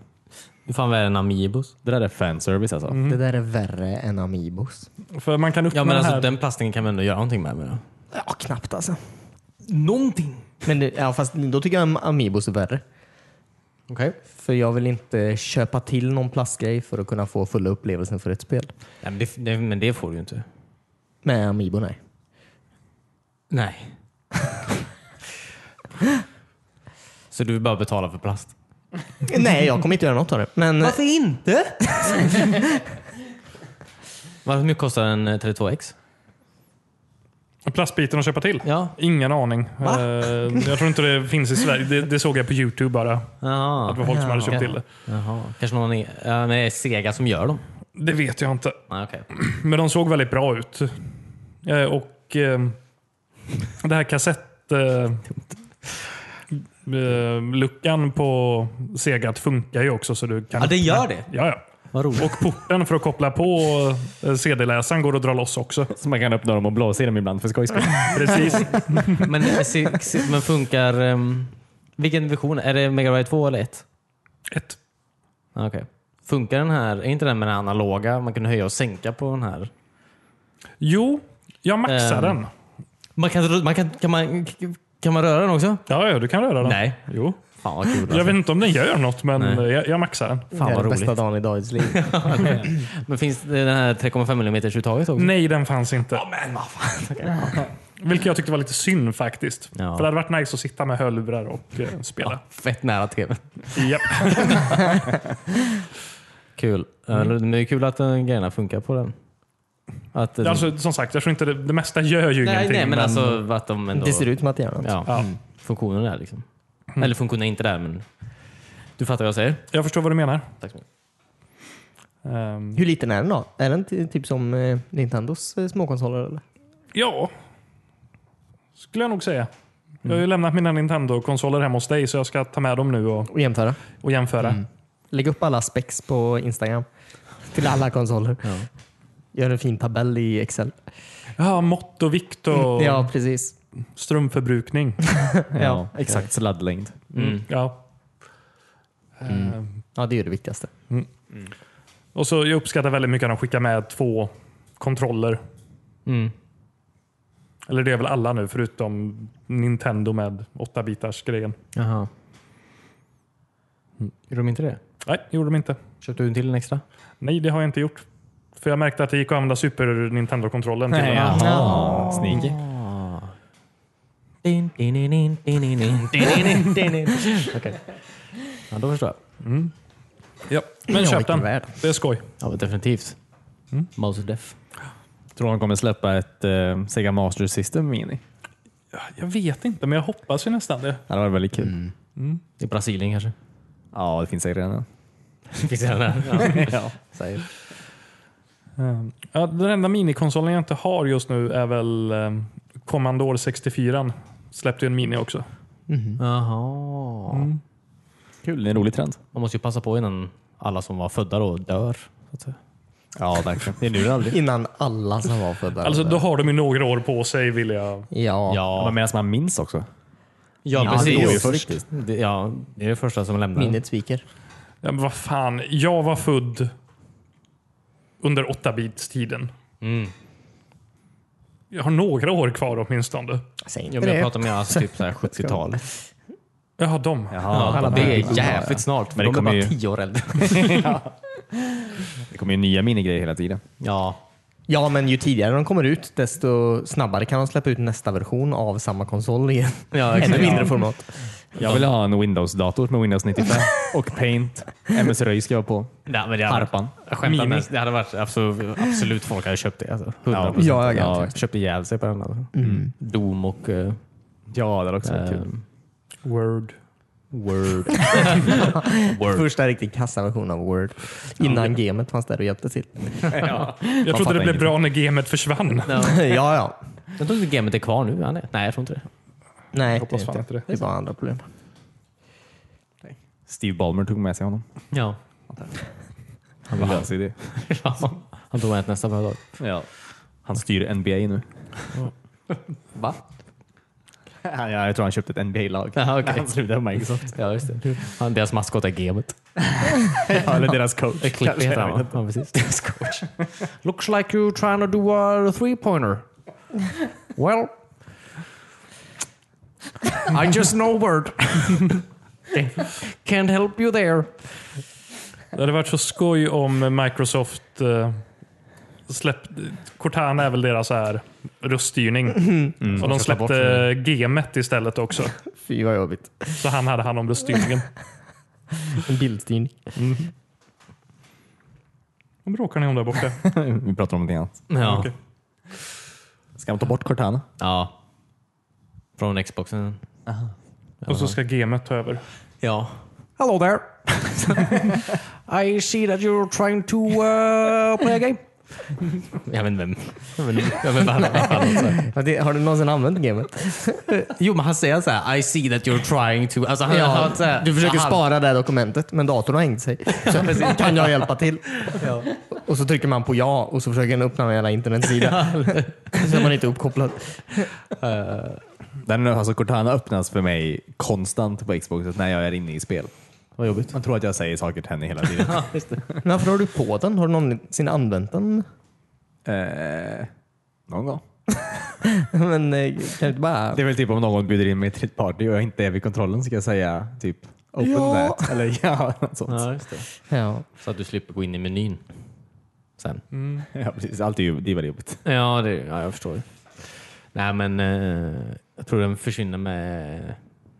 Speaker 1: Hur fan var det en Amiibos?
Speaker 4: Det där är fanservice alltså.
Speaker 2: Det där är värre än Amibos.
Speaker 3: För man kan uppnå
Speaker 1: Ja men
Speaker 3: den
Speaker 1: alltså
Speaker 3: här.
Speaker 1: den plastingen kan man ändå göra någonting med. Menar.
Speaker 2: Ja, knappt alltså.
Speaker 1: Någonting!
Speaker 2: Men det, ja, fast då tycker jag Amibos är värre.
Speaker 1: Okej.
Speaker 2: För jag vill inte köpa till någon plastgrej för att kunna få fulla upplevelsen för ett spel.
Speaker 1: Nej, men, det, det, men det får du ju inte.
Speaker 2: Med Amiibo, nej.
Speaker 1: Nej. Så du vill bara betala för plast?
Speaker 2: nej, jag kommer inte göra något av det. Men eh,
Speaker 1: inte? Varför mycket kostar en eh, 32X?
Speaker 3: Plastbiten att köpa till?
Speaker 1: Ja.
Speaker 3: Ingen aning.
Speaker 1: Va?
Speaker 3: Eh, jag tror inte det finns i Sverige. Det, det såg jag på Youtube bara. Att det var
Speaker 1: Jaha.
Speaker 3: folk som hade köpt
Speaker 1: Ja.
Speaker 3: till det.
Speaker 1: Jaha. Kanske någon i, ja, men det är Sega som gör dem?
Speaker 3: Det vet jag inte.
Speaker 1: Nej, okej.
Speaker 3: Men de såg väldigt bra ut. Eh, Och eh, det här kassett... eh, eh, Luckan på Segat funkar ju också så du kan...
Speaker 1: Ja, det gör det?
Speaker 3: Ja, ja.
Speaker 1: Vad roligt.
Speaker 3: Och porten för att koppla på eh, CD-läsaren går att dra loss också.
Speaker 4: Så man kan öppna dem och blåsa i dem ibland för skojs skull.
Speaker 3: Precis.
Speaker 1: Men, si- si- men funkar... ehm, vilken version? Är det Mega Drive 2 eller 1?
Speaker 3: Ett.
Speaker 1: Okej. Funkar den här? Är inte den med den analoga? Man kan höja och sänka på den här.
Speaker 3: Jo, jag maxar
Speaker 1: Ehm.
Speaker 3: den.
Speaker 1: Man kan, man kan, kan, man, kan man röra den också?
Speaker 3: Ja, ja, du kan röra den.
Speaker 1: Nej.
Speaker 3: Jo.
Speaker 1: Fan vad kul.
Speaker 3: Jag
Speaker 1: Alltså.
Speaker 3: vet inte om den gör något, men
Speaker 1: Nej.
Speaker 3: eh, jag, jag maxar den.
Speaker 1: Fan
Speaker 2: det
Speaker 1: vad
Speaker 2: är den
Speaker 1: roligt.
Speaker 2: bästa dagen i Davids liv.
Speaker 1: Men finns det den här 3,5 mm uttaget också?
Speaker 3: Nej, den fanns inte. Vilket jag tyckte var lite synd faktiskt.
Speaker 1: Ja.
Speaker 3: För det hade varit nice att sitta med hörlurar och eh, spela.
Speaker 1: Fett nära tvn.
Speaker 3: Japp.
Speaker 1: Kul. Mm. Men det är kul att den grejerna funkar på den. Att, eh, den-
Speaker 3: Alltså, som sagt, jag tror inte det, det mesta gör ju
Speaker 1: nej,
Speaker 3: ingenting.
Speaker 1: nej, men alltså att de ändå...
Speaker 2: Det ser ut som att det gör något.
Speaker 1: Ja,
Speaker 3: Ja.
Speaker 1: funktionen är där liksom. Eller funktionen är inte där, men du fattar vad jag säger.
Speaker 3: Jag förstår vad du menar.
Speaker 1: Tack så mycket.
Speaker 3: Ehm,
Speaker 2: Hur liten är den då? Är den ty- typ som eh, Nintendos eh, småkonsoler? Eller?
Speaker 3: ja, skulle jag nog säga. Jag har
Speaker 1: Mm.
Speaker 3: ju lämnat mina Nintendo-konsoler hemma hos dig så jag ska ta med dem nu och,
Speaker 2: Och jämföra.
Speaker 3: och jämföra.
Speaker 1: Mm.
Speaker 2: Lägg upp alla specs på Instagram. Till alla konsoler. Gör en fin tabell i Excel.
Speaker 3: Ja, mått och vikt
Speaker 1: Mm,
Speaker 3: och
Speaker 2: Ja, precis.
Speaker 3: strömförbrukning.
Speaker 2: Ja, exakt.
Speaker 4: Sladdlängd.
Speaker 1: Mm.
Speaker 3: Ja. Ehm,
Speaker 2: Ja, det är ju det viktigaste.
Speaker 3: Och så Jag uppskattar väldigt mycket att de skickar med två kontroller.
Speaker 1: Mm.
Speaker 3: Eller det är väl alla nu förutom Nintendo med 8-bitars grejen.
Speaker 1: Jaha. Mm. Gjorde de inte det?
Speaker 3: Nej, det gjorde de inte.
Speaker 1: Köpte du en till en extra?
Speaker 3: Nej, det har jag inte gjort. För jag märkte att det gick att använda Super Nintendo-kontrollen till den. här.
Speaker 4: Jaha. Sneaky.
Speaker 1: Din, din, din, din, din, din, din, din, din, din, din. Okej. Ja, då förstår jag.
Speaker 3: Ja. Men köp
Speaker 2: vilken
Speaker 3: den.
Speaker 2: värld.
Speaker 3: Det är skoj.
Speaker 1: Ja, men definitivt. Mouse Def.
Speaker 4: Tror de kommer släppa ett eh, Sega Master System Mini.
Speaker 3: Jag vet inte, men jag hoppas ju nästan det.
Speaker 4: Det var väldigt kul.
Speaker 1: I Brasilien kanske?
Speaker 4: Ja, det finns säkert redan.
Speaker 1: Finns det den där? Ja. Säger.
Speaker 3: Ehm, Ja, den enda minikonsolen jag inte har just nu är väl ehm, Commodore 64. Släppte ju en mini också.
Speaker 1: Jaha.
Speaker 4: Kul, det är en rolig trend.
Speaker 1: Man måste ju passa på innan alla som var födda då dör. Så att säga.
Speaker 4: Ja, verkligen. Det är nu eller aldrig.
Speaker 2: Innan alla som var födda.
Speaker 3: Alltså, då har de ju några år på sig vill jag...
Speaker 2: ja.
Speaker 4: Ja.
Speaker 1: Ja,
Speaker 4: Men medan man minns också.
Speaker 1: ja,
Speaker 2: det
Speaker 1: precis.
Speaker 2: går ju
Speaker 4: först.
Speaker 1: Det, ja, det är det första som lämnar.
Speaker 2: Minnet sviker.
Speaker 3: Ja, men vad fan, jag var född under 8-bitstiden.
Speaker 1: Mm.
Speaker 3: Jag har några år kvar åtminstone.
Speaker 2: Säg inte
Speaker 1: Ja, men jag
Speaker 2: det.
Speaker 1: pratar med alltså, typ så här 70-talet.
Speaker 3: Jag har dem.
Speaker 1: Ja,
Speaker 4: alla
Speaker 1: det
Speaker 4: de här.
Speaker 1: är jävligt snart.
Speaker 4: Men
Speaker 1: Men
Speaker 4: det
Speaker 1: de är
Speaker 4: kommer
Speaker 1: bara
Speaker 4: ju-
Speaker 1: tio år äldre.
Speaker 4: Det kommer ju nya minigrejer hela tiden.
Speaker 1: Ja.
Speaker 2: Ja, men ju tidigare de kommer ut, desto snabbare kan de släppa ut nästa version av samma konsol igen.
Speaker 1: Ja,
Speaker 2: Ännu
Speaker 1: exakt.
Speaker 2: mindre format.
Speaker 4: Jag vill ha en Windows-dator med Windows 95 och Paint. MS Röj ska jag på.
Speaker 1: Nej, men det hade,
Speaker 4: Harpan.
Speaker 1: Jag skämtar,
Speaker 4: Mini.
Speaker 1: men det hade varit absolut, absolut folk hade köpt det. Alltså, 100%.
Speaker 2: Ja, jag garanterar.
Speaker 1: köpte ihjäl sig på den. Alltså. Doom och eh,
Speaker 4: Ja, det hade också varit
Speaker 1: eh,
Speaker 4: kul.
Speaker 3: Word.
Speaker 1: Word.
Speaker 2: Första riktigt kassa versionen av Word. Innan gamet fanns där och hjälpte till.
Speaker 3: Jag trodde
Speaker 4: fattar
Speaker 3: det blev
Speaker 4: ingenting.
Speaker 3: bra när gamet försvann.
Speaker 2: ja, ja.
Speaker 1: Jag tror inte gamet är kvar nu. Han är. Nej, jag tror inte det.
Speaker 2: Nej, det,
Speaker 3: hoppas
Speaker 2: är
Speaker 3: fan
Speaker 2: inte.
Speaker 3: inte det.
Speaker 2: det är bara andra problem.
Speaker 4: Steve Ballmer tog med sig honom.
Speaker 1: Ja.
Speaker 4: Han vill lösa det.
Speaker 1: Han tog med ett nästa dag.
Speaker 4: Ja. Han styr NBA nu.
Speaker 1: Va?
Speaker 4: Ja, jag tror han köpte ett NBA-lag.
Speaker 1: Ja, okej.
Speaker 4: Han slutade på Microsoft.
Speaker 1: Ja, just det. Han, deras maskot är gamet.
Speaker 4: Ja, eller deras coach.
Speaker 1: Klipp heter han va? Ja, precis. Deras coach. Looks like you're trying to do a three-pointer. Well... I just know word. Can't help you there.
Speaker 3: Det hade varit så skoj om Microsoft eh, släppt... Cortana är väl deras så här röststyrning. Och de
Speaker 1: Ska ta bort
Speaker 3: släppte gamet istället också.
Speaker 2: Fy vad jobbigt.
Speaker 3: Så han hade hand om röststyrningen.
Speaker 2: En bildstyrning.
Speaker 3: Nu bråkar ni om där borta.
Speaker 4: Vi pratar om någonting annat.
Speaker 1: Ja.
Speaker 3: Okej.
Speaker 4: Ska man ta bort Cortana?
Speaker 1: ja. Från Xboxen.
Speaker 3: Och så ska gamet ta över.
Speaker 1: Ja. Hello there. I see that you're trying to uh, play a game. Jag vet inte vem. Jag vet inte jag vet inte vad han har så här.
Speaker 2: Ja, det- Har du någonsin använt gamet?
Speaker 1: Jo, men han säger så här, I see that you're trying to... Alltså, han, han, så här,
Speaker 2: du försöker
Speaker 1: han,
Speaker 2: spara det här dokumentet, men datorn har hängt sig. Så kan jag hjälpa till? Och så trycker man på ja och så försöker den öppna en jävla internetsida. så är man inte uppkopplad.
Speaker 4: Den alltså Cortana öppnas för mig konstant på Xbox när jag är inne i spel.
Speaker 1: Vad jobbigt.
Speaker 4: Man tror att jag säger saker till henne hela tiden.
Speaker 2: Men varför har du på den? Har du någonsin använt den?
Speaker 4: eh, någon gång.
Speaker 2: men eh, kan du inte bara...
Speaker 4: Det är väl typ om någon bjuder in mig till ett party och jag inte är vid kontrollen ska jag säga typ open
Speaker 2: Ja.
Speaker 4: that. Eller ja, något sånt.
Speaker 1: Ja, just det.
Speaker 2: Ja.
Speaker 1: Så att du slipper gå in i menyn sen.
Speaker 4: Ja, precis. Allt är ju det är väldigt jobbigt.
Speaker 1: Ja, det, ja jag förstår. Nej, men eh, jag tror den försvinner med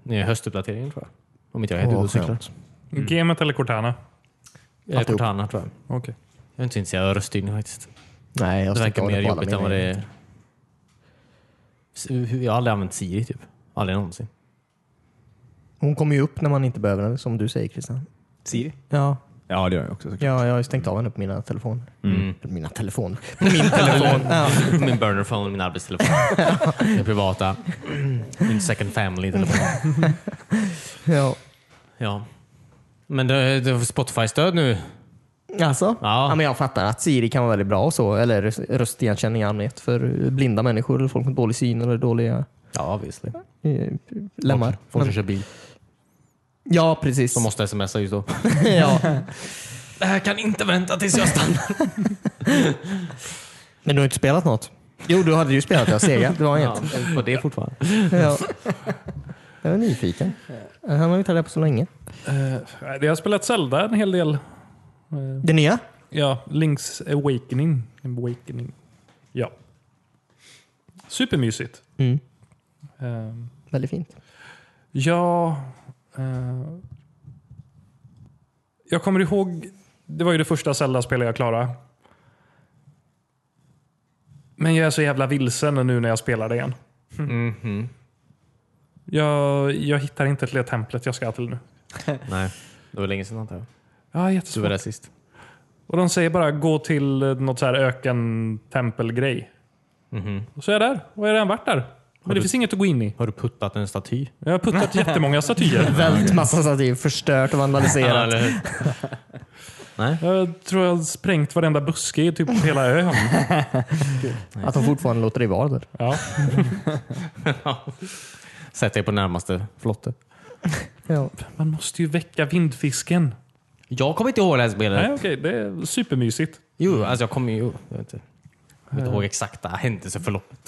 Speaker 1: med höstuppdateringen tror jag. Om inte jag är helt ute
Speaker 2: Åh,
Speaker 1: och cyklar.
Speaker 2: skönt.
Speaker 1: Mm.
Speaker 3: Gamet eller Cortana?
Speaker 1: Eh,
Speaker 2: Alltihop.
Speaker 1: Cortana tror jag.
Speaker 3: Okej.
Speaker 1: Jag är inte så intresserad av röststyrning faktiskt.
Speaker 2: Nej, jag
Speaker 1: Det verkar
Speaker 2: stänger
Speaker 1: mer
Speaker 2: av det på alla
Speaker 1: jobbigt än
Speaker 2: mina
Speaker 1: vad det
Speaker 2: grejer.
Speaker 1: är. S- hur- Jag har aldrig använt Siri typ. Aldrig någonsin.
Speaker 2: Hon kommer ju upp när man inte behöver den, som du säger Christian.
Speaker 4: Siri?
Speaker 2: Ja,
Speaker 4: Ja, det gör jag också såklart.
Speaker 2: ja jag har ju stängt av henne på mina telefoner.
Speaker 1: Mm.
Speaker 2: På Mina telefoner? På min telefon. ja.
Speaker 1: min burner phone, min arbetstelefon. min privata. Min second family telefon.
Speaker 2: ja.
Speaker 1: Ja. Men det, det Spotify-stöd nu.
Speaker 2: Alltså?
Speaker 1: Ja.
Speaker 2: Ja. men jag fattar att Siri kan vara väldigt bra och så, eller röst- röstigenkänning i allmänhet för blinda människor eller folk med dålig syn eller dåliga
Speaker 1: Ja, obviously.
Speaker 2: eh, lemmar.
Speaker 1: Folk, folk som
Speaker 2: Men-
Speaker 1: kör bil.
Speaker 2: ja, precis.
Speaker 1: De måste smsa just då.
Speaker 2: ja.
Speaker 1: Det här kan inte vänta tills jag stannar.
Speaker 2: Men du har inte spelat något? Jo, du hade ju spelat ja, Sega. Det var
Speaker 1: Ja,
Speaker 2: inget.
Speaker 1: och det fortfarande.
Speaker 2: Ja. Jag är nyfiken. Han har ju inte det på så länge.
Speaker 3: Okay. Jag har spelat Zelda en hel del. Eh,
Speaker 2: Det nya?
Speaker 3: Ja, Link's Awakening. Awakening. Ja. Supermysigt.
Speaker 2: Mm.
Speaker 3: Ehm,
Speaker 2: Väldigt fint.
Speaker 3: Ja... eh, jag kommer ihåg, det var ju det första Zelda-spelet jag klarade. Men jag är så jävla vilsen nu när jag spelar det igen.
Speaker 1: Mhm.
Speaker 3: Jag, jag hittar inte till det templet jag ska till nu.
Speaker 1: Nej, det var länge sedan antar jag.
Speaker 3: Ja,
Speaker 1: Du var
Speaker 3: jättesvårt.
Speaker 1: där sist. och
Speaker 3: Och de säger bara gå till eh, något så här öken-tempelgrej.
Speaker 1: Mhm.
Speaker 3: Och så är jag där. Och jag har redan varit där. Men det
Speaker 1: du-
Speaker 3: finns inget att gå in i.
Speaker 1: Har du puttat en staty?
Speaker 3: Jag har puttat jättemånga statyer.
Speaker 2: Väldigt massa stativ. Förstört och vandaliserat.
Speaker 1: eller hur? Nej.
Speaker 3: Jag tror jag har sprängt varenda buske i typ hela ön.
Speaker 2: Att de fortfarande låter dig vara där.
Speaker 3: Ja.
Speaker 1: Sätt dig på närmaste flotte.
Speaker 2: Ja.
Speaker 3: Man måste ju väcka vindfisken.
Speaker 1: Jag kommer inte ihåg det här spelet.
Speaker 3: Nej, okej. Det är supermysigt.
Speaker 1: Jo, alltså jag kommer ju... Jag vet inte, jag kommer inte ihåg exakta händelseförloppet.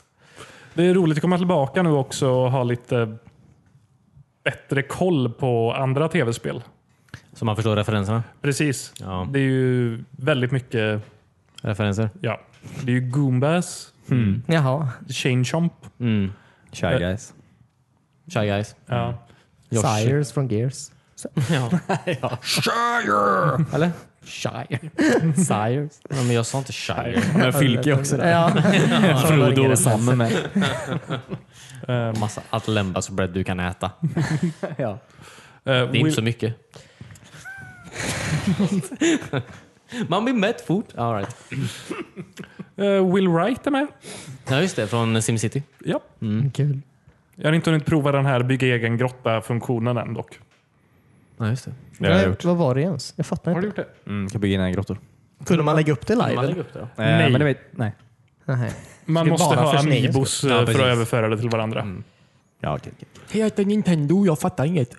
Speaker 3: Det är roligt att komma tillbaka nu också och ha lite bättre koll på andra tv-spel.
Speaker 1: Så man förstår referenserna.
Speaker 3: Precis.
Speaker 1: Ja.
Speaker 3: Det är ju väldigt mycket...
Speaker 1: Referenser.
Speaker 3: Ja. Det är ju Goombas,
Speaker 2: Jaha.
Speaker 3: Chain Chomp.
Speaker 1: Mm.
Speaker 4: Shy guys.
Speaker 1: Shy guys.
Speaker 3: Ja.
Speaker 1: Yoshi.
Speaker 2: Sires från Gears.
Speaker 1: Ja. Eller?
Speaker 2: Shire. Sires.
Speaker 1: Ja, men jag sa inte shy.
Speaker 4: Men Fylke också där.
Speaker 2: Ja.
Speaker 4: Frodo och Sam med.
Speaker 3: Ehm,
Speaker 1: Massa atlembas bread du kan äta.
Speaker 4: ja.
Speaker 3: eh,
Speaker 1: Det är inte
Speaker 3: Will-
Speaker 1: så mycket. Man blir mätt fort. All right.
Speaker 3: eh, Will Wright är med.
Speaker 1: Ja, just det. Från Simcity.
Speaker 3: Ja.
Speaker 2: Mm, Kul.
Speaker 3: Jag har inte hunnit prova den här bygga egen grotta-funktionen än dock.
Speaker 1: Ja, just det.
Speaker 4: Det har jag
Speaker 2: Nej,
Speaker 4: gjort.
Speaker 2: Vad var det ens? Jag fattar
Speaker 3: Har du
Speaker 2: inte.
Speaker 3: gjort det?
Speaker 4: Mm, kan bygga in en grottor.
Speaker 2: Kunde man lägga upp det live?
Speaker 1: Man
Speaker 2: eller?
Speaker 1: lägger upp det då.
Speaker 3: Nej.
Speaker 4: men det vet, nej.
Speaker 2: Nej.
Speaker 3: Man
Speaker 2: Ska
Speaker 3: måste
Speaker 2: bara
Speaker 3: ha
Speaker 2: för sin egen
Speaker 3: amibos eh,
Speaker 1: Ja,
Speaker 3: för
Speaker 1: precis.
Speaker 3: att överföra det till varandra.
Speaker 4: Mm. Ja, okej, okej.
Speaker 1: Jag heter Nintendo, jag fattar inget.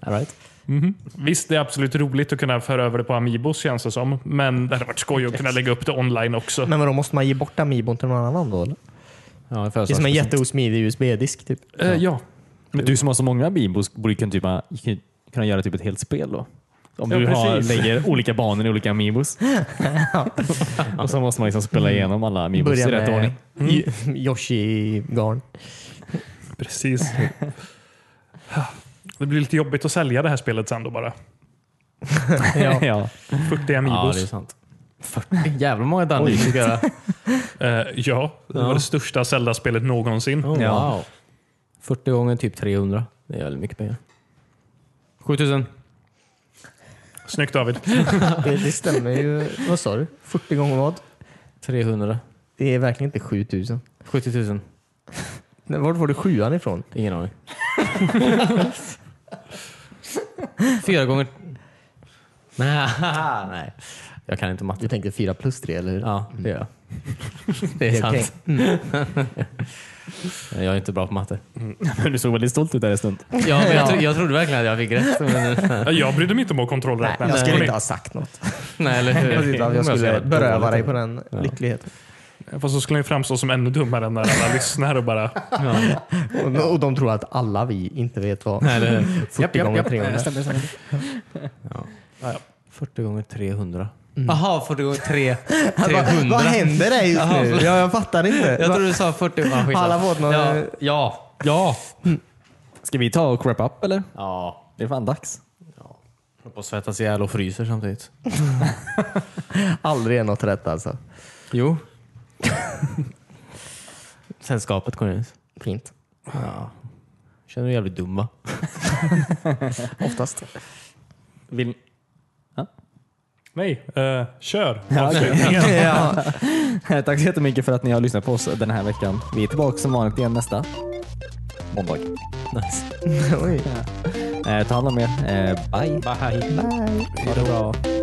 Speaker 1: All right.
Speaker 3: Visst, det är absolut roligt att kunna föra över det på amibos känns det som. Men det hade varit skoj att kunna lägga upp det online också.
Speaker 2: Men vadå, måste man ge bort amibon till någon annan då? Eller?
Speaker 1: Ja,
Speaker 2: Det är som en jätteosmidig USB-disk typ.
Speaker 3: Eh, ja.
Speaker 4: Men du som har så många bibos borde kunna, typ, kan- kunna göra typ ett helt spel då. Om
Speaker 3: Ja,
Speaker 4: du har,
Speaker 3: precis.
Speaker 4: lägger olika banor i olika amibos. och så måste man liksom spela igenom alla amibos
Speaker 2: Börja
Speaker 4: i rätt
Speaker 2: med
Speaker 4: ordning.
Speaker 2: mm. Yoshi-garn.
Speaker 3: Precis. Det blir lite jobbigt att sälja det här spelet sen då bara.
Speaker 4: Ja.
Speaker 3: 40
Speaker 1: Ja, det är
Speaker 3: amibos.
Speaker 1: sant. 40 jävla många Danny fick göra.
Speaker 3: Eh, ja, det var det största Zelda-spelet någonsin.
Speaker 1: Oh,
Speaker 4: Ja.
Speaker 1: Wow. 40 gånger typ 300. Det är väldigt mycket pengar. 7000.
Speaker 3: Snyggt David.
Speaker 2: Det, det stämmer ju. Vad sa du? 40 gånger vad?
Speaker 1: 300.
Speaker 2: Det är verkligen inte 7000.
Speaker 1: 70 000.
Speaker 2: Nej, Var var du sjuan ifrån?
Speaker 1: Ingen aning. Fyra gånger... Nej, nej. Jag kan inte matte.
Speaker 2: Du tänkte 4 plus 3, eller hur?
Speaker 1: Ja, det gör jag. Det är
Speaker 2: Helt
Speaker 1: sant.
Speaker 2: okej.
Speaker 1: Jag är inte bra på matte.
Speaker 4: Men du såg väldigt stolt ut där en stund.
Speaker 1: Ja, men jag, tro, jag trodde verkligen att jag fick rätt. Men,
Speaker 3: Eh, Jag brydde mig inte om att kontrollräkna.
Speaker 2: Nej, jag skulle
Speaker 3: Får ni-
Speaker 2: inte ha sagt något.
Speaker 1: nej, eller hur?
Speaker 2: Jag tyckte att jag
Speaker 1: Om
Speaker 2: skulle
Speaker 1: varit
Speaker 2: beröva
Speaker 1: dålig.
Speaker 2: dig på den lyckligheten.
Speaker 3: Fast så skulle jag ju framstå som ännu dummare när alla lyssnar och bara
Speaker 1: Ja.
Speaker 2: Och, och de tror att alla vi inte vet vad
Speaker 1: Nej, eller hur?
Speaker 2: 40 gånger 300 är.
Speaker 1: 40 gånger 300. Jaha, 40 Mm. gånger 3. 300.
Speaker 2: Vad, vad händer dig just
Speaker 1: Jaha,
Speaker 2: nu?
Speaker 1: förlåt.
Speaker 2: Ja, jag fattar inte.
Speaker 1: Jag
Speaker 2: Va-
Speaker 1: trodde du sa 40. Ja, skitsamma.
Speaker 2: Alla fått någon-
Speaker 1: ja, ja. Ja.
Speaker 4: Ska vi ta och wrap up eller?
Speaker 1: Ja.
Speaker 4: Det är fan dags.
Speaker 1: Jag på att svettas ihjäl och fryser samtidigt.
Speaker 2: Aldrig är något rätt alltså.
Speaker 1: Jo. Sällskapet går ut.
Speaker 2: Fint.
Speaker 1: Ja. Känner du jävligt dum va?
Speaker 2: Oftast.
Speaker 4: Vill...
Speaker 3: nej, eh, kör avslutningen.
Speaker 2: ja.
Speaker 4: Tack så jättemycket för att ni har lyssnat på oss den här veckan. Vi är tillbaka som vanligt igen nästa måndag.
Speaker 1: Nice.
Speaker 2: Oj.
Speaker 4: Eh, ta hand om er. Eh, bye.
Speaker 1: Bye.
Speaker 4: Ha det bra.